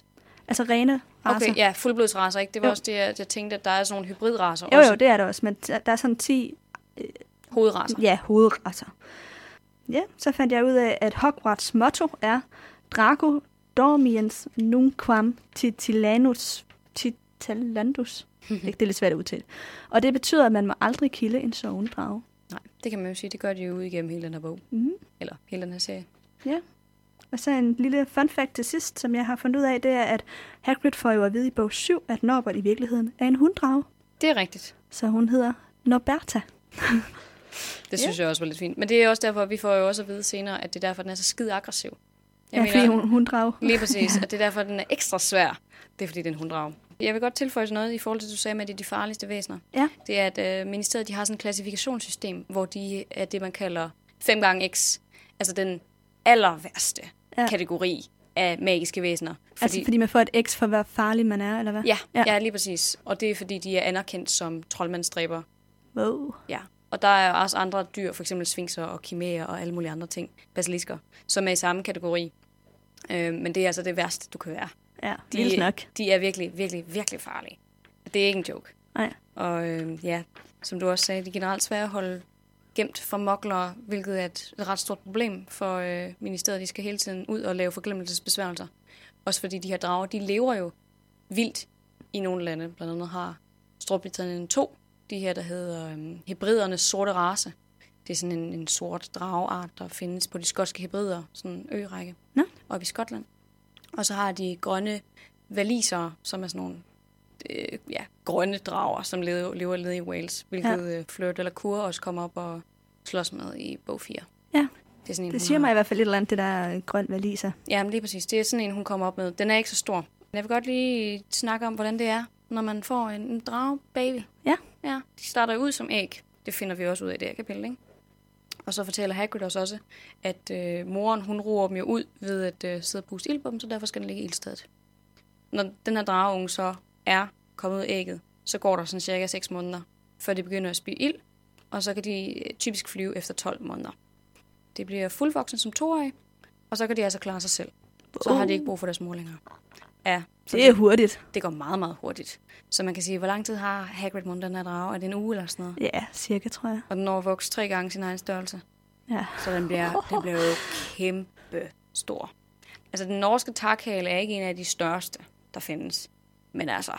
B: altså rene raser.
A: Okay, ja, fuldblodsraser, ikke? Det var
B: Jo.
A: jo. også det, jeg, jeg tænkte, at der er sådan nogle hybridraser
B: Jo,
A: også.
B: jo, det er der også, men der der er sådan 10
A: Hovedraser.
B: ja, hovedraser. Ja, så fandt jeg ud af, at Hogwarts motto er Drago dormiens nunquam titilanus tit, Talandus. det det er lidt svært at udtale. Og det betyder, at man må aldrig kilde en sovende drage.
A: Nej, det kan man jo sige. Det gør de jo ud igennem hele den her bog.
B: Mhm.
A: Eller hele den her serie.
B: Og så en lille fun fact til sidst, som jeg har fundet ud af, det er, at Hagrid får jo at vide i bog 7, at Norbert i virkeligheden er en hunddrage.
A: Det er rigtigt.
B: Så hun hedder Norberta.
A: Det synes jeg også var lidt fint. Men det er også derfor, at vi får jo også at vide senere, at det er derfor, den er så skide aggressiv.
B: Ja, fordi hun, hunddrage.
A: Lige præcis, og det er derfor, den er ekstra svær. Det er fordi, det er en hunddrag. Jeg vil godt tilføje sådan noget i forhold til, at du sagde med, at det er de farligste væsener.
B: Ja.
A: Det er, at øh, ministeriet de har sådan et klassifikationssystem, hvor de er det, man kalder 5 gange x. Altså den aller værste
B: Ja.
A: ja. kategori af magiske væsener.
B: Fordi... Altså fordi man får et X for, hvor farlig man er, eller hvad?
A: ja,
B: Ja.
A: ja. ja, lige præcis. Og det er, fordi de er anerkendt som troldmandstræber.
B: Wow.
A: Ja. Og der er også andre dyr, for eksempel sfinkser og kimæer og alle mulige andre ting, basilisker, som er i samme kategori. Øh, men det er altså det værste, du kan være.
B: Ja,
A: De-
B: vildt nok.
A: De er virkelig, virkelig, virkelig farlige. Det er ikke en joke.
B: Nej.
A: Og øh, ja, som du også sagde, de er generelt svære at holde gemt for moklere, hvilket er et et ret stort problem for øh, ministeriet. De skal hele tiden ud og lave forglemmelsesbesværgelser. Også fordi de her drager, de lever jo vildt i nogle lande. Blandt andet har Storbritannien to, de her, der hedder øh, hebridernes sorte race. Det er sådan en, en sort drageart, der findes på de skotske hebrider, sådan en ørække,
B: Nå.
A: oppe i Skotland. Og så har de grønne valisere, som er sådan nogle øh, ja, grønne drager, som lever, lever nede i Wales, hvilket øh, ja. Flirt eller Kur også kommer op og slås med i bog 4.
B: Ja.
A: Det, er sådan en, hun
B: Det siger
A: har-
B: mig i hvert fald et eller andet, det der øh, grøn valiser.
A: Ja, men lige præcis. Det er sådan en, hun kommer op med. Den er ikke så stor. Men jeg vil godt lige snakke om, hvordan det er, når man får en, en drage-baby.
B: Ja.
A: Ja, de starter jo ud som æg. Det finder vi også ud af i det her kapitel, ikke? Og så fortæller Hagrid os også, at øh, moren, hun roer dem jo ud ved at øh, sidde og puste ild på dem, så derfor skal den ligge i ildstedet. Når den her drageunge så er kommet ud af ægget, så går der sådan cirka 6 måneder, før de begynder at spy ild, og så kan de øh, typisk flyve efter 12 måneder. Det bliver fuldvoksne som toårige, og så kan de altså klare sig selv. Så har de ikke brug for deres mor længere. Ja, så
B: Det er hurtigt.
A: det går meget, meget hurtigt. Så man kan sige, hvor lang tid har Hagrid mundet den her drage? Er det en uge eller sådan noget?
B: Ja, cirka, tror jeg.
A: Og den når at vokse tre gange sin egen størrelse.
B: Ja.
A: Så den bliver, den bliver jo kæmpe stor. Altså, den norske takhale er ikke en af de største, der findes. Men altså,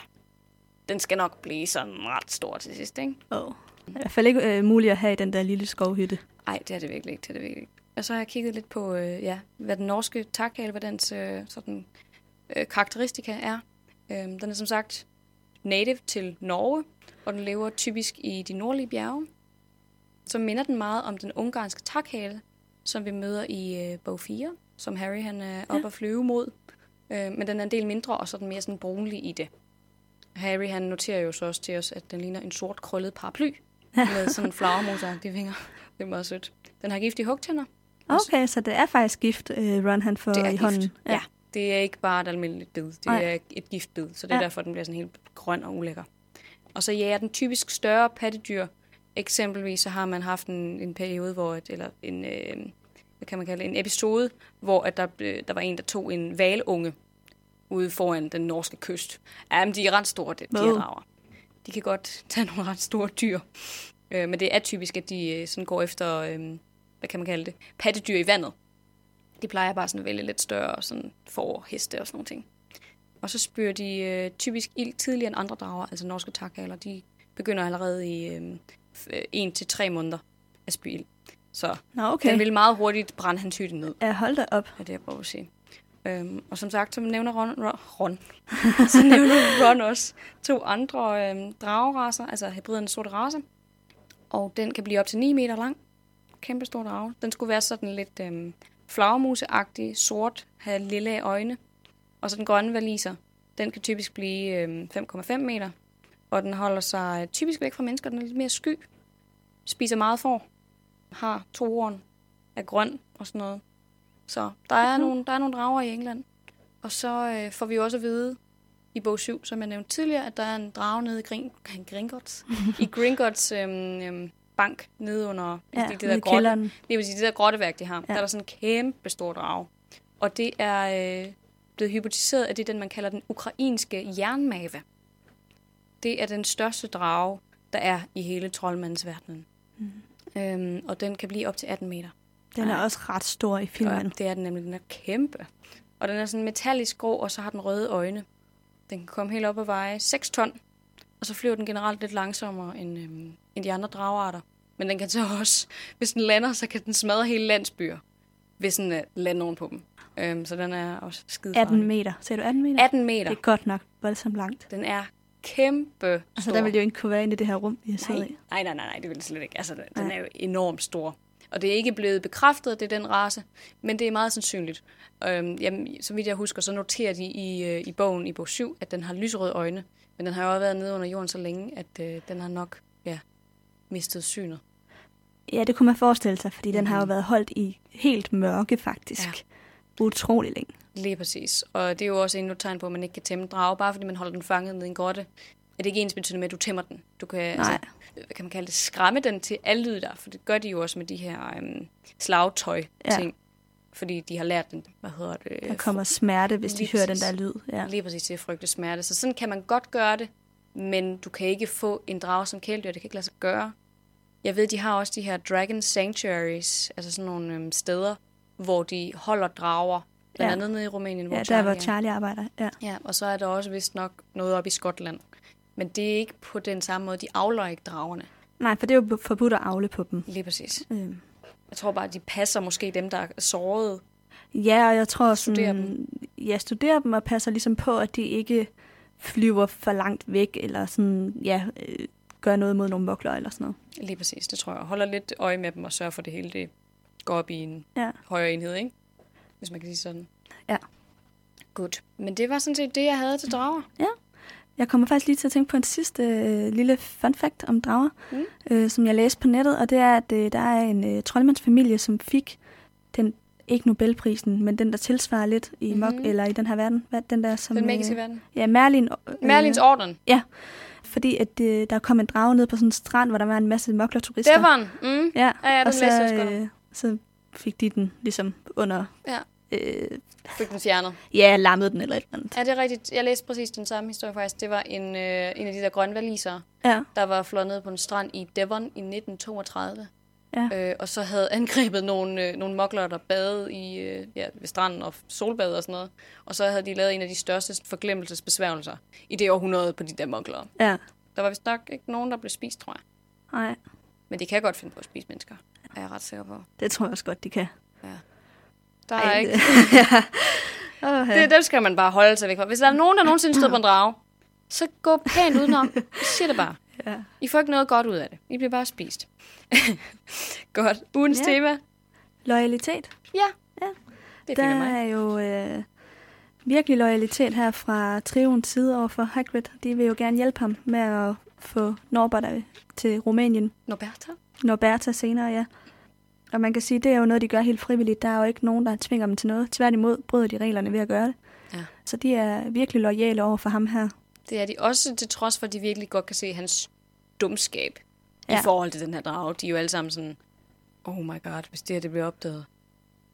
A: den skal nok blive sådan ret stor til sidst, ikke?
B: Oh. I hvert fald ikke øh, muligt at have i den der lille skovhytte.
A: Ej, det er det virkelig ikke, det er det virkelig ikke. Og så har jeg kigget lidt på, øh, ja, hvad den norske takhale, hvad dens øh, sådan, øh, karakteristika er. Øhm, den er som sagt native til Norge, og den lever typisk i de nordlige bjerge. Så minder den meget om den ungarske takhale, som vi møder i øh, bog 4, som Harry han er oppe at flyve mod. Øh, men den er en del mindre, og så er den mere sådan brunlig i det. Harry han noterer jo så også til os, at den ligner en sort krøllet paraply med sådan flagermusagtige vinger. Det er meget sødt. Den har giftige hugtænder.
B: Okay, så det er faktisk gift, øh, Ron han får
A: Det er
B: i
A: gift.
B: hånden.
A: Ja. ja. Det er ikke bare et almindeligt bid. Det
B: Nej.
A: er et giftbid, så det er
B: Ja.
A: ja. derfor, den bliver sådan helt grøn og ulækker. Og så jager den typisk større pattedyr. Eksempelvis så har man haft en, en periode, hvor et, eller en, øh, hvad kan man kalde det, en episode, hvor at der, blev, der var en, der tog en valunge ude foran den norske kyst. Jamen, de er ret store, de, de her
B: Wow.
A: rager. De kan godt tage nogle ret store dyr. Øh, men det er typisk, at de øh, sådan går efter, øh, hvad kan man kalde det, pattedyr i vandet. De plejer bare sådan at vælge lidt større sådan får, heste og sådan nogle ting. Og så spyrer de øh, typisk ild tidligere end andre drager, altså norske takhaler. De begynder allerede i øh, f- øh, en til tre måneder at spy ild. Så
B: Nå,
A: okay.
B: okay.
A: den vil meget hurtigt brænde hans hytte ned,
B: Ja, hold da op.
A: er det, jeg prøver at sige. Øhm, og som sagt, så nævner Ron, Ron, Ron. så nævner Ron også to andre øhm, drageraser, altså hybridernes sorte race. Og den kan blive op til 9 meter lang. Kæmpe stor drage. Den skulle være sådan lidt øhm, flagermuseagtig, sort, have lille øjne. Og så den grønne valiser, den kan typisk blive øhm, 5,5 meter. Og den holder sig øh, typisk væk fra mennesker, den er lidt mere sky. Spiser meget får. Har to horn. Er grøn og sådan noget. Så der er,
B: Mhm.
A: nogle, der er nogle drager i England. Og så øh, får vi jo også at vide i bog 7, som jeg nævnte tidligere, at der er en drage nede i Gring, Gringotts, i Gringotts øhm, øhm, bank nede under
B: Ja,
A: det, det
B: ude
A: der
B: i
A: grotte,
B: kælderen.
A: det vil sige, det der grotteværk, de har, ja. der er der sådan en kæmpe stor drage. Og det er øh, blevet hypotiseret, at det er den, man kalder den ukrainske jernmave. Det er den største drage, der er i hele troldmandsverdenen. Mm. Øhm, og den kan blive op til 18 meter.
B: Den er også ret stor i filmen.
A: Og det er den nemlig. Den er kæmpe. Og den er sådan metallisk grå, og så har den røde øjne. Den kan komme helt op og veje 6 ton, og så flyver den generelt lidt langsommere end, øhm, end de andre dragarter. Men den kan så også, hvis den lander, så kan den smadre hele landsbyer, hvis den øh, lander oven på dem. Øhm, så den er også skide
B: 18 meter. Sagde du 18 meter?
A: 18 meter.
B: Det er godt nok voldsomt langt.
A: Den er kæmpe
B: Altså,
A: stor.
B: der ville jo ikke kunne være inde i det her rum, vi har siddet
A: Nej,
B: i.
A: nej, nej, nej, nej, det vil det slet ikke. Altså, den den
B: Nej.
A: er jo enormt stor. Og det er ikke blevet bekræftet, at det er den race, men det er meget sandsynligt. Øhm, jamen, så vidt jeg husker, så noterer de i, øh, i bogen, i bog 7, at den har lyserøde øjne. Men den har jo også været nede under jorden så længe, at øh, den har nok ja, mistet synet.
B: Ja, det kunne man forestille sig, fordi den har
A: Mm.
B: jo været holdt i helt mørke, faktisk. Ja. Utrolig længe.
A: Lige præcis. Og det er jo også endnu et tegn på, at man ikke kan tæmme en drage, bare fordi man holder den fanget nede i en grotte. Er det ikke ens betydende med, at du tæmmer den? Du kan, altså, hvad kan man kalde det, skræmme den til alle lyde der, for det gør de jo også med de her øhm, slagtøj-ting. Fordi de har lært den, hvad hedder det?
B: Der kommer smerte, hvis de
A: lige
B: hører den
A: præcis.
B: der lyd. Ja.
A: Lige præcis til at frygte smerte. Så sådan kan man godt gøre det, men du kan ikke få en drage som kæledyr. Det kan ikke lade sig gøre. Jeg ved, de har også de her dragon sanctuaries, altså sådan nogle øhm, steder, hvor de holder drager. Blandt
B: Ja.
A: andet nede i Rumænien, hvor
B: ja, der
A: Charlie
B: hvor
A: er.
B: Charlie arbejder. Ja.
A: Ja, og så er der også vist nok noget op i Skotland. Men det er ikke på den samme måde. De afler ikke dragerne.
B: Nej, for det er jo forbudt at afle på dem.
A: Lige præcis.
B: Øhm.
A: Jeg tror bare, at de passer måske dem, der er sårede.
B: Ja, og jeg tror
A: Studerer
B: sådan, jeg studerer dem og passer ligesom på, at de ikke flyver for langt væk, eller sådan, ja, øh, gør noget mod nogle mokler eller sådan noget.
A: Lige præcis, det tror jeg. Holder lidt øje med dem og sørger for, at det hele det går op i en
B: Ja.
A: højere enhed, ikke? Hvis man kan sige sådan.
B: Ja.
A: Godt. Men det var sådan set det, jeg havde til drager.
B: Jeg kommer faktisk lige til at tænke på en sidste øh, lille fun fact om drager,
A: Mm.
B: mm. øh, som jeg læste på nettet, og det er, at øh, der er en øh, troldmandsfamilie, som fik den, ikke Nobelprisen, men den, der tilsvarer lidt i mok,
A: Mhm.
B: eller i den her verden. Hvad, den der, som,
A: Den magiske verden.
B: Øh, ja, Merlin. Øh,
A: Merlins orden.
B: Fordi at, øh, der kom en drage ned på sådan en strand, hvor der var en masse moklerturister.
A: Devon. Mm.
B: Ja,
A: Ja, ja, den
B: og
A: læste jeg også
B: så,
A: godt om.
B: øh, så fik de den ligesom under...
A: Ja.
B: Øh,
A: Fik den fjernet.
B: ja, lammede den eller et eller andet.
A: Ja, det er rigtigt. Jeg læste præcis den samme historie faktisk. Det var en, øh, en af de der grønne valisere,
B: Ja,
A: der var flået ned på en strand i Devon i 1932.
B: Ja.
A: Øh, og så havde angrebet nogle, øh, nogle mokler, der badede i, øh, ja, ved stranden og solbad og sådan noget. Og så havde de lavet en af de største forglemmelsesbesværgelser i det århundrede på de der mokler.
B: ja.
A: Der var vist nok ikke nogen, der blev spist, tror jeg.
B: Nej,
A: Men de kan godt finde på at spise mennesker, er jeg ret sikker på.
B: det tror jeg også godt, de kan.
A: Der er
B: Ej,
A: ikke...
B: ja. Oh, ja.
A: Det, dem skal man bare holde sig væk fra. Hvis der er nogen, der nogensinde stod på en drage, så gå pænt udenom. Jeg siger det bare.
B: Ja.
A: I får ikke noget godt ud af det. I bliver bare spist. godt. Ugens
B: Ja.
A: tema.
B: Loyalitet.
A: Ja.
B: Ja.
A: Det
B: Der
A: finder mig.
B: er jo øh, virkelig loyalitet her fra trioens side over for Hagrid. De vil jo gerne hjælpe ham med at få Norbert til Rumænien.
A: Norberta?
B: Norberta senere, ja. Og man kan sige, det er jo noget, de gør helt frivilligt. Der er jo ikke nogen, der tvinger dem til noget. Tværtimod bryder de reglerne ved at gøre det.
A: Ja.
B: Så de er virkelig lojale over for ham her.
A: Det er de også, til trods for, at de virkelig godt kan se hans dumskab ja. i
B: Ja.
A: forhold til den her drage. De er jo alle sammen sådan, oh my god, hvis det her det bliver opdaget,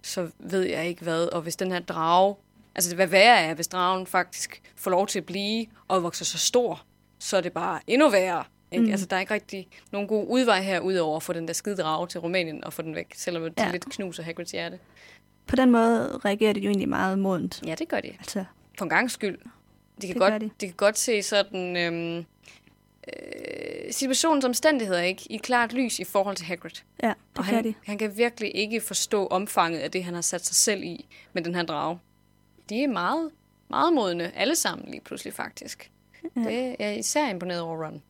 A: så ved jeg ikke hvad. Og hvis den her drage, altså hvad værre er, hvis dragen faktisk får lov til at blive og vokser så stor, så er det bare endnu værre. Ikke? Mm. Altså, der er ikke rigtig nogen god udvej her, udover at få den der skide drage til Rumænien og få den væk, selvom det ja.
B: Ja.
A: lidt knuser Hagrids hjerte.
B: På den måde reagerer de jo egentlig meget modent.
A: Ja, det gør de.
B: Altså,
A: for en gang skyld. De kan,
B: Det
A: godt,
B: gør
A: de.
B: de.
A: kan godt se sådan øhm, øh, situationens omstændigheder ikke i et klart lys i forhold til Hagrid.
B: ja, det
A: Og
B: kan
A: han,
B: de.
A: han kan virkelig ikke forstå omfanget af det, han har sat sig selv i med den her drage. De er meget, meget modne, alle sammen lige pludselig faktisk. Ja.
B: Ja.
A: Det er jeg er især imponeret over Ron.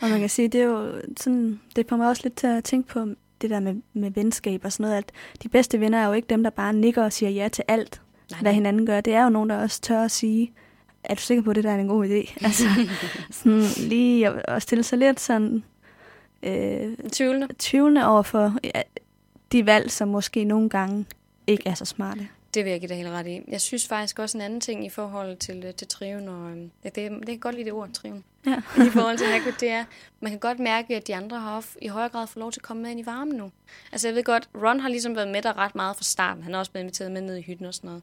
B: Og man kan sige, det er jo sådan, det får mig også lidt til at tænke på det der med, med venskab og sådan noget, at de bedste venner er jo ikke dem, der bare nikker og siger ja til alt,
A: Nej,
B: Nej. hvad hinanden gør. Det er jo nogen, der også tør at sige, er du sikker på, at det der er en god idé? Altså, sådan lige at, at stille sig lidt sådan øh,
A: Tvivlende.
B: tvivlende over for ja, de valg, som måske nogle gange ikke er så smarte.
A: Det vil jeg give dig helt ret i. Jeg synes faktisk også en anden ting i forhold til, øh, til triven. Og, øhm, ja, det, det kan jeg godt lide det ord, triven.
B: Ja.
A: I forhold til Hagrid, det er, man kan godt mærke, at de andre har f- i højere grad fået lov til at komme med ind i varmen nu. Altså jeg ved godt, Ron har ligesom været med der ret meget fra starten. Han er også blevet inviteret med ned i hytten og sådan noget.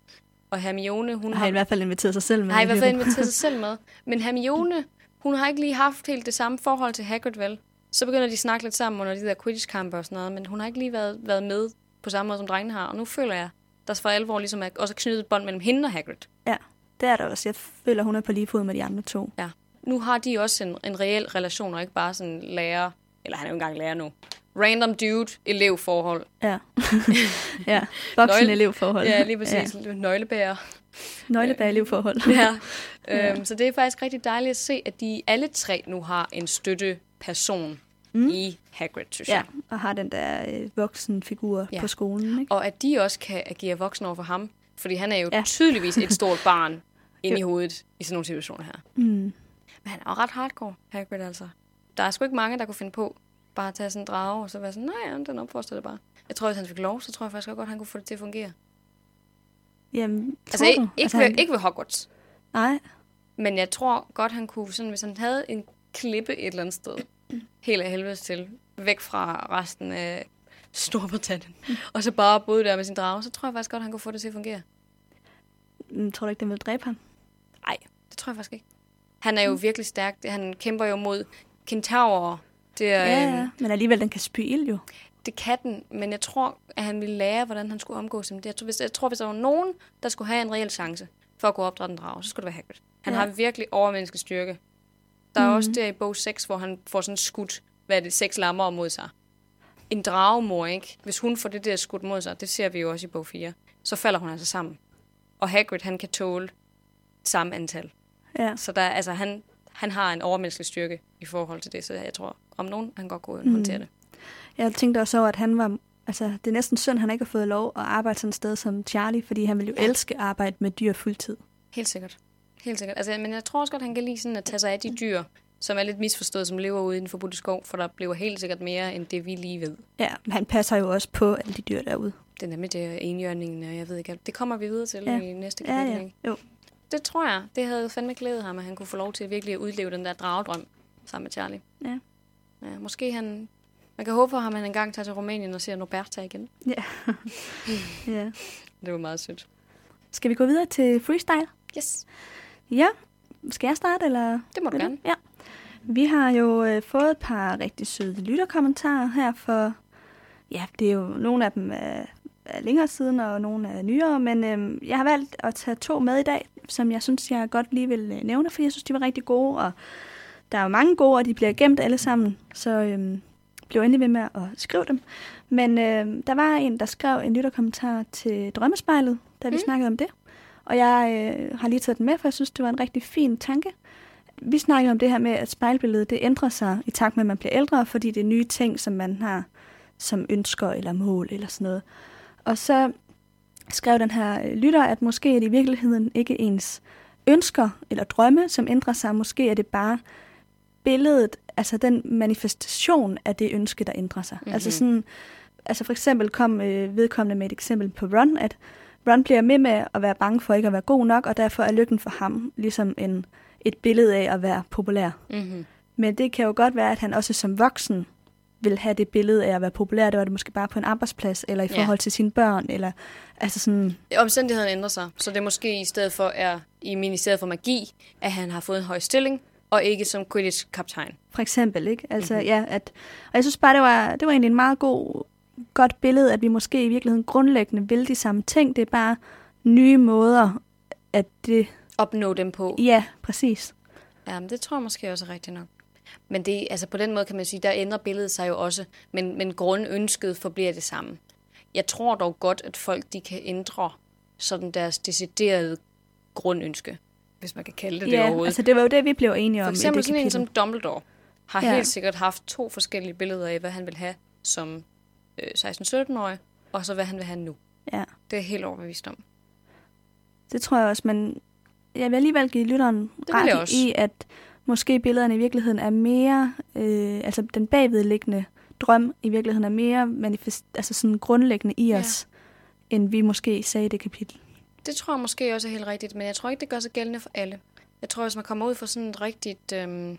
A: Og Hermione, hun
B: Og
A: har
B: har i hvert fald inviteret sig selv med.
A: har i hvert fald inviteret sig selv med. Men Hermione, hun har ikke lige haft helt det samme forhold til Hagrid, vel? Så begynder de at snakke lidt sammen under de der Quidditch-kampe og sådan noget, men hun har ikke lige været, været med på samme måde, som drengene har. Og nu føler jeg, der for alvor ligesom er også er knyttet et bånd mellem hende og Hagrid.
B: Ja. det er der også. Jeg føler, hun er på lige fod med de andre to.
A: Ja. Nu har de også en, en reel relation, og ikke bare sådan lærer, eller han er jo engang lærer nu, random dude elevforhold.
B: Ja. ja. Voksen elevforhold.
A: Ja, lige præcis. Ja. Nøglebærer.
B: Nøglebær elevforhold.
A: Ja. Øhm, så det er faktisk rigtig dejligt at se, at de alle tre nu har en støtteperson mm. i Hagrid, synes
B: ja,
A: jeg.
B: og har den der øh, voksenfigur
A: Ja.
B: ja. på skolen, ikke?
A: Og at de også kan agere voksne over for ham, fordi han er jo ja.
B: Ja.
A: tydeligvis et stort barn inde i hovedet i sådan nogle situationer her.
B: Mm.
A: Men han er jo ret hardcore, Hagrid altså. Der er sgu ikke mange, der kunne finde på bare at tage sådan en drage, og så være sådan, nej, ja, den opforstår det bare. Jeg tror, hvis han fik lov, så tror jeg faktisk også godt, han kunne få det til at fungere.
B: Jamen,
A: Altså,
B: tror
A: ikke,
B: du?
A: ikke,
B: altså,
A: ved,
B: han-
A: ikke ved Hogwarts,
B: Nej,
A: men jeg tror godt, han kunne, sådan, hvis han havde en klippe et eller andet sted, helt af helvedes til, væk fra resten af Storbritannien, og så bare boede der med sin drage, så tror jeg faktisk godt, han kunne få det til at fungere.
B: Mm, tror du ikke, den vil dræbe ham?
A: Nej, det tror jeg faktisk ikke. Han er
B: Mm.
A: jo virkelig stærk. Han kæmper jo mod kentaurer. Det er,
B: Ja,
A: øhm,
B: ja. Men alligevel, den kan spy ild jo.
A: Det kan den, men jeg tror, at han ville lære, hvordan han skulle omgås dem. Jeg tror, hvis, jeg tror, hvis der var nogen, der skulle have en reel chance for at kunne opdrætte en drage, så skulle det være Hagrid. Han ja.
B: Ja.
A: har virkelig overmenneskelig styrke. Der er mm. også der i bog 6, hvor han får sådan skudt, hvad er det, seks lammer mod sig. En dragemor, ikke? Hvis hun får det der skudt mod sig, det ser vi jo også i bog 4, så falder hun altså sammen. Og Hagrid, han kan tåle samme antal.
B: Ja.
A: Så der, altså, han, han har en overmenneskelig styrke i forhold til det, så jeg tror, om nogen, han godt kunne mm. håndtere det.
B: Jeg tænkte også over, at han var... Altså, det er næsten synd, han ikke har fået lov at arbejde sådan et sted som Charlie, fordi han ville jo elske at arbejde med dyr fuldtid.
A: Helt sikkert. Helt sikkert. Altså, men jeg tror også godt, han kan lide sådan at tage sig af de dyr, som er lidt misforstået, som lever ude i den forbudte skov, for der bliver helt sikkert mere, end det vi lige ved.
B: Ja, men han passer jo også på alle de dyr derude.
A: Det er nemlig det enhjørningen, og jeg ved ikke alt. Det kommer vi videre til ja.
B: Ja.
A: i næste
B: Ja,
A: kapitel.
B: ja.
A: ikke?
B: Jo.
A: Det tror jeg, det havde fandme glædet ham, at han kunne få lov til virkelig at udleve den der dragedrøm sammen med Charlie.
B: Ja.
A: ja måske han... Man kan håbe for ham, at han engang tager til Rumænien og ser Norberta igen.
B: Ja. ja.
A: Det var meget sødt.
B: Skal vi gå videre til freestyle?
A: Yes,
B: Ja. Skal jeg starte, eller?
A: det må du
B: Vil
A: gerne.
B: Ja. Vi har jo øh, fået et par rigtig søde lytterkommentarer her for... Ja, det er jo nogle af dem er, er længere siden, og nogle er nyere, men øh, jeg har valgt at tage to med i dag, som jeg synes, jeg godt lige vil øh, nævne, fordi jeg synes, de var rigtig gode, og der er jo mange gode, og de bliver gemt alle sammen, så øh, bliv endelig ved med at skrive dem. Men øh, der var en, der skrev en lytterkommentar til Drømmespejlet, da vi
A: Mm.
B: mm. snakkede om det, og jeg øh, har lige taget den med, for jeg synes, det var en rigtig fin tanke. Vi snakkede om det her med, at spejlbilledet det ændrer sig i takt med, at man bliver ældre, fordi det er nye ting, som man har som ønsker eller mål eller sådan noget. Og så skrev den her øh, lytter, at måske er det i virkeligheden ikke ens ønsker eller drømme, som ændrer sig. Måske er det bare billedet, altså den manifestation af det ønske, der ændrer sig. Mm-hmm. Altså sådan, altså for eksempel kom øh, vedkommende med et eksempel på Ron, at Ron bliver med med at være bange for ikke at være god nok, og derfor er lykken for ham ligesom en, et billede af at være populær.
A: Mm-hmm.
B: Men det kan jo godt være, at han også som voksen vil have det billede af at være populær. Det var det måske bare på en arbejdsplads, eller i
A: Ja.
B: forhold til sine børn, eller altså sådan,
A: Omstændighederne ændrer sig, så det måske i stedet for er i ministeriet for magi, at han har fået en høj stilling, og ikke som Quidditch-kaptajn.
B: for eksempel, ikke? Altså, mm-hmm. ja, at, og jeg synes bare, det var, det var egentlig en meget god, godt billede, at vi måske i virkeligheden grundlæggende vil de samme ting. Det er bare nye måder, at det,
A: Opnå dem på.
B: ja, præcis.
A: Ja, men det tror jeg måske også er rigtigt nok. Men det, altså på den måde kan man sige, der ændrer billedet sig jo også, men, men grundønsket forbliver det samme. Jeg tror dog godt, at folk de kan ændre sådan deres deciderede grundønske, hvis man kan kalde det det
B: ja,
A: overhovedet.
B: altså det var jo det, vi blev enige
A: For
B: om
A: eksempel
B: i det
A: sådan en
B: kapitel.
A: som Dumbledore har ja.
B: Ja.
A: helt sikkert haft to forskellige billeder af, hvad han vil have som øh, 16-17-årig, og så hvad han vil have nu.
B: Ja.
A: Det er jeg helt overbevist om.
B: Det tror jeg også, men jeg vil alligevel give lytteren
A: vil jeg
B: ret
A: også.
B: i, at måske billederne i virkeligheden er mere, øh, altså den bagvedliggende drøm i virkeligheden er mere manifest, altså sådan grundlæggende i
A: Ja.
B: os, end vi måske sagde i det kapitel.
A: Det tror jeg måske også er helt rigtigt, men jeg tror ikke, det gør sig gældende for alle. Jeg tror, hvis man kommer ud for sådan et rigtigt øhm,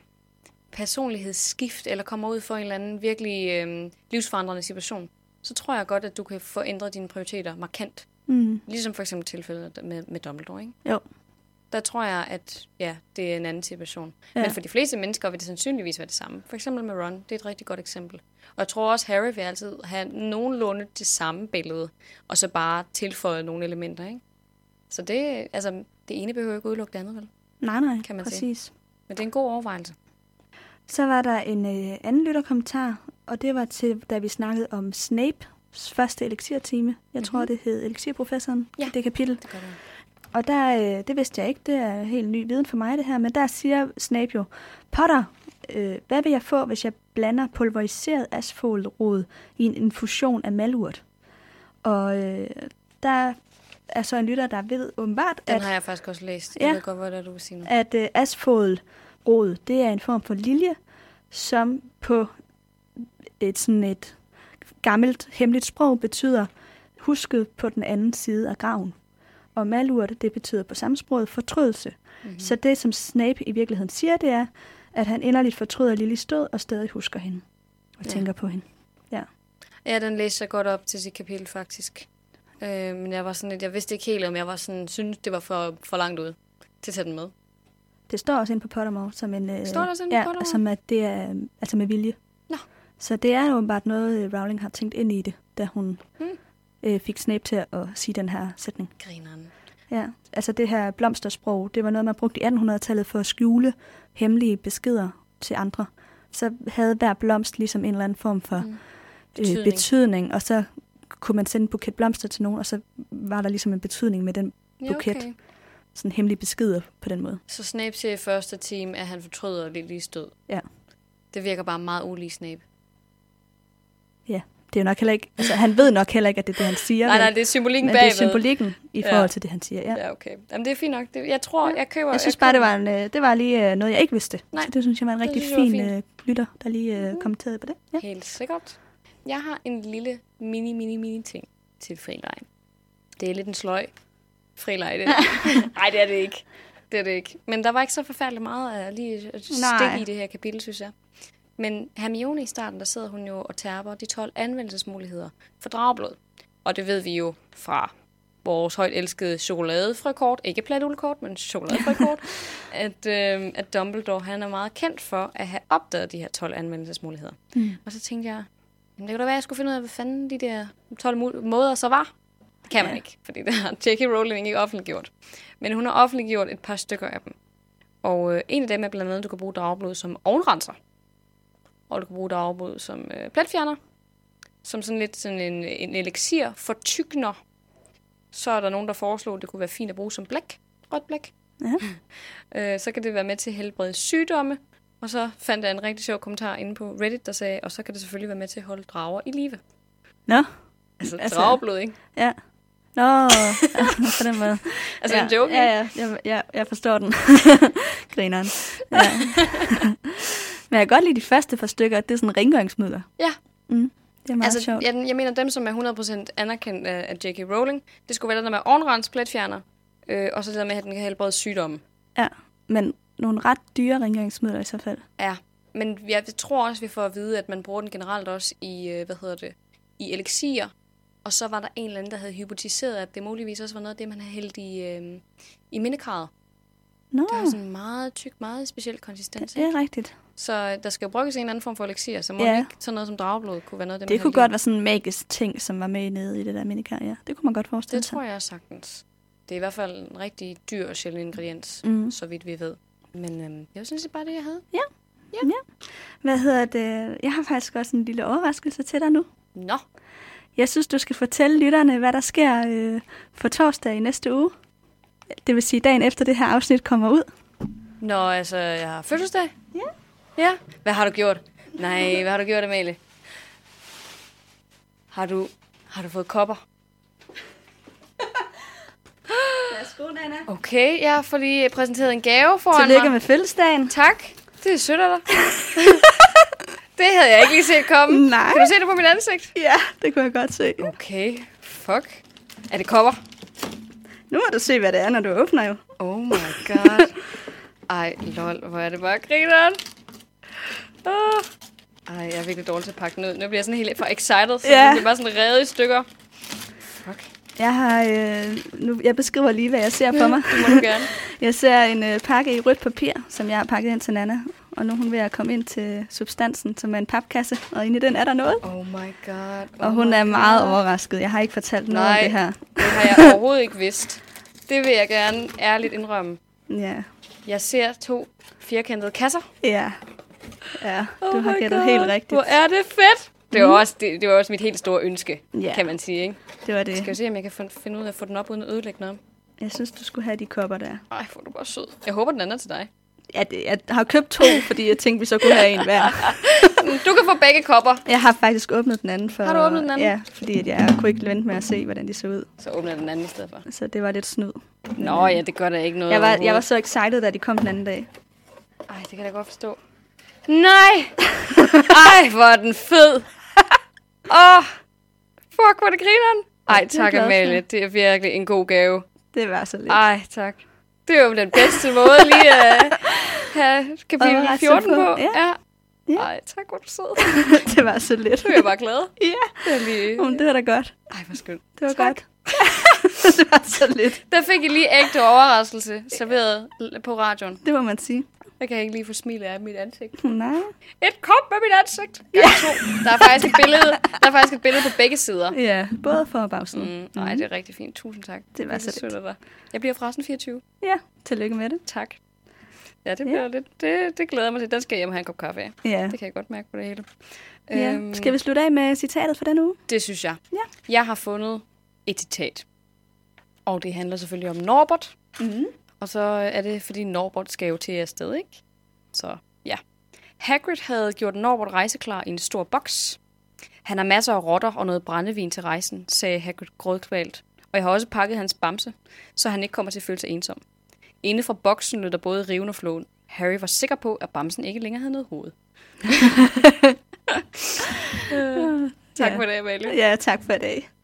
A: personlighedsskift, eller kommer ud for en eller anden virkelig øhm, livsforandrende situation, så tror jeg godt, at du kan få ændret dine prioriteter markant.
B: Mm.
A: Ligesom for eksempel tilfældet med, med Dumbledore, ikke?
B: Jo.
A: Der tror jeg, at ja, det er en anden situation. Ja.
B: Ja.
A: Men for de fleste mennesker vil det sandsynligvis være det samme. For eksempel med Ron, det er et rigtig godt eksempel. Og jeg tror også, Harry vil altid have nogenlunde det samme billede, og så bare tilføje nogle elementer, ikke? Så det, altså, det ene behøver ikke udelukke det andet, vel?
B: Nej, nej,
A: Kan man sige.
B: præcis.
A: Men det er en god overvejelse.
B: Så var der en øh, anden lytterkommentar, og det var til, da vi snakkede om Snapes første elixirtime. Jeg mm-hmm. tror,
A: Mhm.
B: det hed Elixirprofessoren,
A: Ja.
B: det kapitel.
A: Det gør det.
B: Og der, øh, det vidste jeg ikke, det er helt ny viden for mig det her, men der siger Snape jo, Potter, øh, hvad vil jeg få, hvis jeg blander pulveriseret asfaltrod i en infusion af malurt? Og øh, der er så en lytter, der ved åbenbart,
A: Den
B: at
A: har jeg faktisk også læst. Jeg
B: Ja.
A: ved godt, hvad det er, du vil sige nu.
B: at øh, asfodrod, det er en form for lilje, som på et sådan et gammelt hemmeligt sprog betyder husket på den anden side af graven. Og malurt, det betyder på samme sprog fortrydelse.
A: Mhm.
B: Mm-hmm. Så det, som Snape i virkeligheden siger, det er, at han inderligt fortryder Lillys død og stadig husker hende og
A: Ja.
B: ja. tænker på hende.
A: Ja, den læste jeg godt op til sit kapitel, faktisk. Øh, men jeg var sådan lidt, jeg vidste ikke helt, om jeg var sådan, synes det var for, for langt ud til at tage den med.
B: Det står også inde på Pottermore som en... Øh,
A: Står der sådan
B: ja,
A: på dig?
B: som at det er øh, altså med vilje.
A: Nå.
B: Så det er åbenbart noget, øh, Rowling har tænkt ind i det, da hun
A: Hmm.
B: hmm. øh, fik Snape til at sige den her sætning.
A: Grineren.
B: Ja, altså det her blomstersprog, det var noget, man brugte i 1800-tallet for at skjule hemmelige beskeder til andre. Så havde hver blomst ligesom en eller anden form for
A: Mm.
B: hmm.
A: Betydning.
B: øh, betydning, og så kunne man sende en buket blomster til nogen, og så var der ligesom en betydning med den Buket. sådan hemmelige beskeder på den måde.
A: Så Snape siger i første time, at han fortryder Lillys død.
B: Ja.
A: Det virker bare meget ulig Snape.
B: Det er jo nok heller ikke, altså han ved nok heller ikke, at det er det, han siger.
A: Nej,
B: vel?
A: nej, det er symbolikken
B: Men
A: bagved.
B: det er symbolikken i
A: Ja.
B: forhold til det, han siger. Ja.
A: Ja, okay. Jamen, det er fint nok. Det, jeg tror,
B: Ja.
A: jeg køber...
B: Jeg synes bare, det var, en, øh, det var lige øh, noget, jeg ikke vidste.
A: Nej.
B: Så det synes jeg var en
A: Det
B: rigtig
A: synes jeg var
B: fin, fin. Øh, lytter, der lige øh,
A: Mhm.
B: kommenterede på det. Ja.
A: Helt sikkert. Jeg har en lille mini, mini, mini ting til frileg. Det er lidt en sløj frileg, det. Nej, det er det ikke. Det er det ikke. Men der var ikke så forfærdeligt meget at lige at
B: Nej.
A: stikke i det her kapitel, synes jeg. Men Hermione i starten, der sidder hun jo og tærper de 12 anvendelsesmuligheder for drageblod. Og det ved vi jo fra vores højt elskede chokoladefrøkort, ikke platullekort, men chokoladefrøkort, at, øh, at Dumbledore han er meget kendt for at have opdaget de her 12 anvendelsesmuligheder.
B: Mm.
A: Og så tænkte jeg, jamen det kunne da være, at jeg skulle finde ud af, hvad fanden de der 12 mul- måder så var. Det kan man
B: Ja.
A: ikke, fordi det har J.K. Rowling ikke offentliggjort. Men hun har offentliggjort et par stykker af dem. Og øh, en af dem er blandt andet, at du kan bruge drageblod som ovenrenser. Og du kan bruge drageblod som øh, pletfjerner. Som sådan lidt sådan en, en elixir for tykner. Så er der nogen, der foreslog, at det kunne være fint at bruge som blæk. Rødt blæk.
B: Ja.
A: Øh, så kan det være med til at helbrede sygdomme. Og så fandt jeg en rigtig sjov kommentar inde på Reddit, der sagde, og så kan det selvfølgelig være med til at holde drager i live.
B: Nå.
A: Altså, altså
B: Altså-
A: drageblod, ikke?
B: Ja. Nå, på den måde.
A: Altså,
B: ja.
A: en joke,
B: Ja, ja, jeg, jeg, jeg forstår den. Grineren. Ja. Men jeg kan godt lide de første par stykker, at det er sådan rengøringsmidler.
A: Ja.
B: Mm. Det er meget altså,
A: Altså,
B: sjovt. Ja.
A: jeg, jeg mener, dem, som er 100% anerkendt af, af J.K. Rowling, det skulle være det der med ovenrens, pletfjerner, øh, og så det der med, at den kan helbrede sygdomme.
B: Men nogle ret dyre rengøringsmidler i så fald.
A: Ja, men jeg tror også, vi får at vide, at man bruger den generelt også i, øh, hvad hedder det, i elixir. Og så var der en eller anden, der havde hypotiseret, at det muligvis også var noget af det, man havde hældt i, øh, i mindekravet.
B: Nå,
A: Det har sådan en meget tyk, meget speciel konsistens.
B: det er rigtigt.
A: Så øh, der skal jo brygges en eller anden form for elixir, så må
B: Ja.
A: ja. ikke sådan noget som drageblod kunne være noget af det,
B: Det
A: man
B: kunne
A: hældte i.
B: godt være sådan en magisk ting, som var med nede i det der minikar, ja. Det kunne man godt forestille
A: Det
B: sig.
A: tror jeg sagtens. Det er i hvert fald en rigtig dyr og sjælden ingrediens,
B: Mm.
A: mm. så vidt vi ved. Men øhm, jeg synes, det er bare det, jeg havde.
B: Hvad hedder det? Jeg har faktisk også en lille overraskelse til dig nu.
A: Nå,
B: Jeg synes, du skal fortælle lytterne, hvad der sker øh, for torsdag i næste uge. Det vil sige, dagen efter det her afsnit kommer ud.
A: Nå altså, jeg har fødselsdag.
B: Ja.
A: Ja, hvad har du gjort? Nej, hvad har du gjort, Amalie? Har du, har du fået kopper?
B: Værsgo, Nana.
A: Okay, jeg får lige præsenteret en gave foran
B: Tillykke
A: mig.
B: med fødselsdagen.
A: Tak, det er sødt af dig. det havde jeg ikke lige set komme.
B: Nej.
A: Mm. Kan du se det på mit ansigt?
B: Ja, det kunne jeg godt se.
A: Okay, fuck. Er det kopper?
B: Nu må du se, hvad det er, når du åbner jo.
A: Oh my god. Ej, lol, hvor er det bare grineren. Oh. Ej, jeg er virkelig dårlig til at pakke den ud. Nu bliver jeg sådan helt for excited, så
B: Ja.
A: yeah. bliver bare sådan revet i stykker. Fuck,
B: Jeg har, øh, nu, jeg beskriver lige, hvad jeg ser for mig.
A: det må du gerne.
B: Jeg ser en øh, pakke i rødt papir, som jeg har pakket ind til Nana. Og nu er hun ved at komme ind til substansen, som er en papkasse. Og inde i den er der noget.
A: Oh my god. Oh
B: Og hun
A: my
B: er meget
A: god.
B: overrasket. Jeg har ikke fortalt noget om
A: Nej.
B: det her.
A: Det har jeg overhovedet ikke vidst. Det vil jeg gerne ærligt indrømme.
B: Ja.
A: Jeg ser to firkantede kasser. Oh
B: Ja. Ja, du har
A: my
B: gættet
A: God,
B: helt rigtigt. Mm.
A: Hvor er det fedt! Det var, også, det, det var også mit helt store ønske,
B: Ja.
A: kan man sige. Ikke?
B: Det var det.
A: Skal vi se, om jeg kan fin- finde ud af at få den op uden at ødelægge noget?
B: Jeg synes, du skulle have de kopper der.
A: Ej, hvor er du bare sød. Jeg håber, den anden er til dig.
B: Ja, det, jeg har købt to, fordi jeg tænkte, vi så kunne have en hver.
A: Du kan få begge kopper.
B: Jeg har faktisk åbnet den anden. For,
A: Har du åbnet den anden?
B: Ja, fordi at jeg kunne ikke vente med at se, hvordan de så ud.
A: Så åbner jeg den anden i stedet for.
B: Så det var lidt snyd.
A: Nå ja, det gør da ikke noget
B: Jeg var, jeg var
A: overhovedet.
B: så excited, da de kom den anden dag.
A: Ej, det kan jeg da godt forstå. Nej! Ej, hvor er den fed! Åh! Oh, fuck, hvor er det grineren! Ej,
B: Det er jeg
A: tak
B: glad for.
A: Amalie. Det er virkelig en god gave.
B: Det var så lidt.
A: Ej, tak. Det er jo den bedste måde lige at have kapitel
B: Overraske
A: 14 på.
B: på,
A: på.
B: ja. Ja.
A: Ej, tak, hvor er du sød.
B: det var så lidt.
A: Nu er jeg bare glad.
B: Ja,
A: Det er lige...
B: men det var da godt.
A: Ej, hvor skønt.
B: Det var
A: Tak.
B: godt. det var så lidt.
A: Der fik I lige ægte overraskelse serveret l- på radioen.
B: Det må man sige.
A: Jeg kan ikke lige få smilet af mit ansigt.
B: Nej.
A: Et kop med mit ansigt! Ja. To. Der er faktisk et billede, der er faktisk et billede på begge sider.
B: Ja, både for og bagsiden.
A: Mm, nej, det er rigtig fint. Tusind tak.
B: Det var
A: er
B: så
A: sødt af dig. Jeg bliver forresten 24.
B: Ja, tillykke med det.
A: Tak. Ja, det, bliver yeah. lidt, det, det glæder jeg mig til. Den skal jeg hjem og have en kop kaffe af.
B: Ja.
A: Det kan jeg godt mærke på det hele. Øhm,
B: ja. Skal vi slutte af med citatet for denne uge?
A: Det synes jeg.
B: Ja.
A: Jeg har fundet et citat. Og det handler selvfølgelig om Norbert.
B: Mhm.
A: Og så er det, fordi Norbert skal jo til afsted, ikke? Så ja. Hagrid havde gjort Norbert rejseklar i en stor boks. Han har masser af rotter og noget brændevin til rejsen, sagde Hagrid grådkvalt. Og jeg har også pakket hans bamse, så han ikke kommer til at føle sig ensom. Inde fra boksen lød der både riven og flåen. Harry var sikker på, at bamsen ikke længere havde noget hoved. øh, tak
B: Ja.
A: Øh, for det, Amalie.
B: Ja, tak for i dag.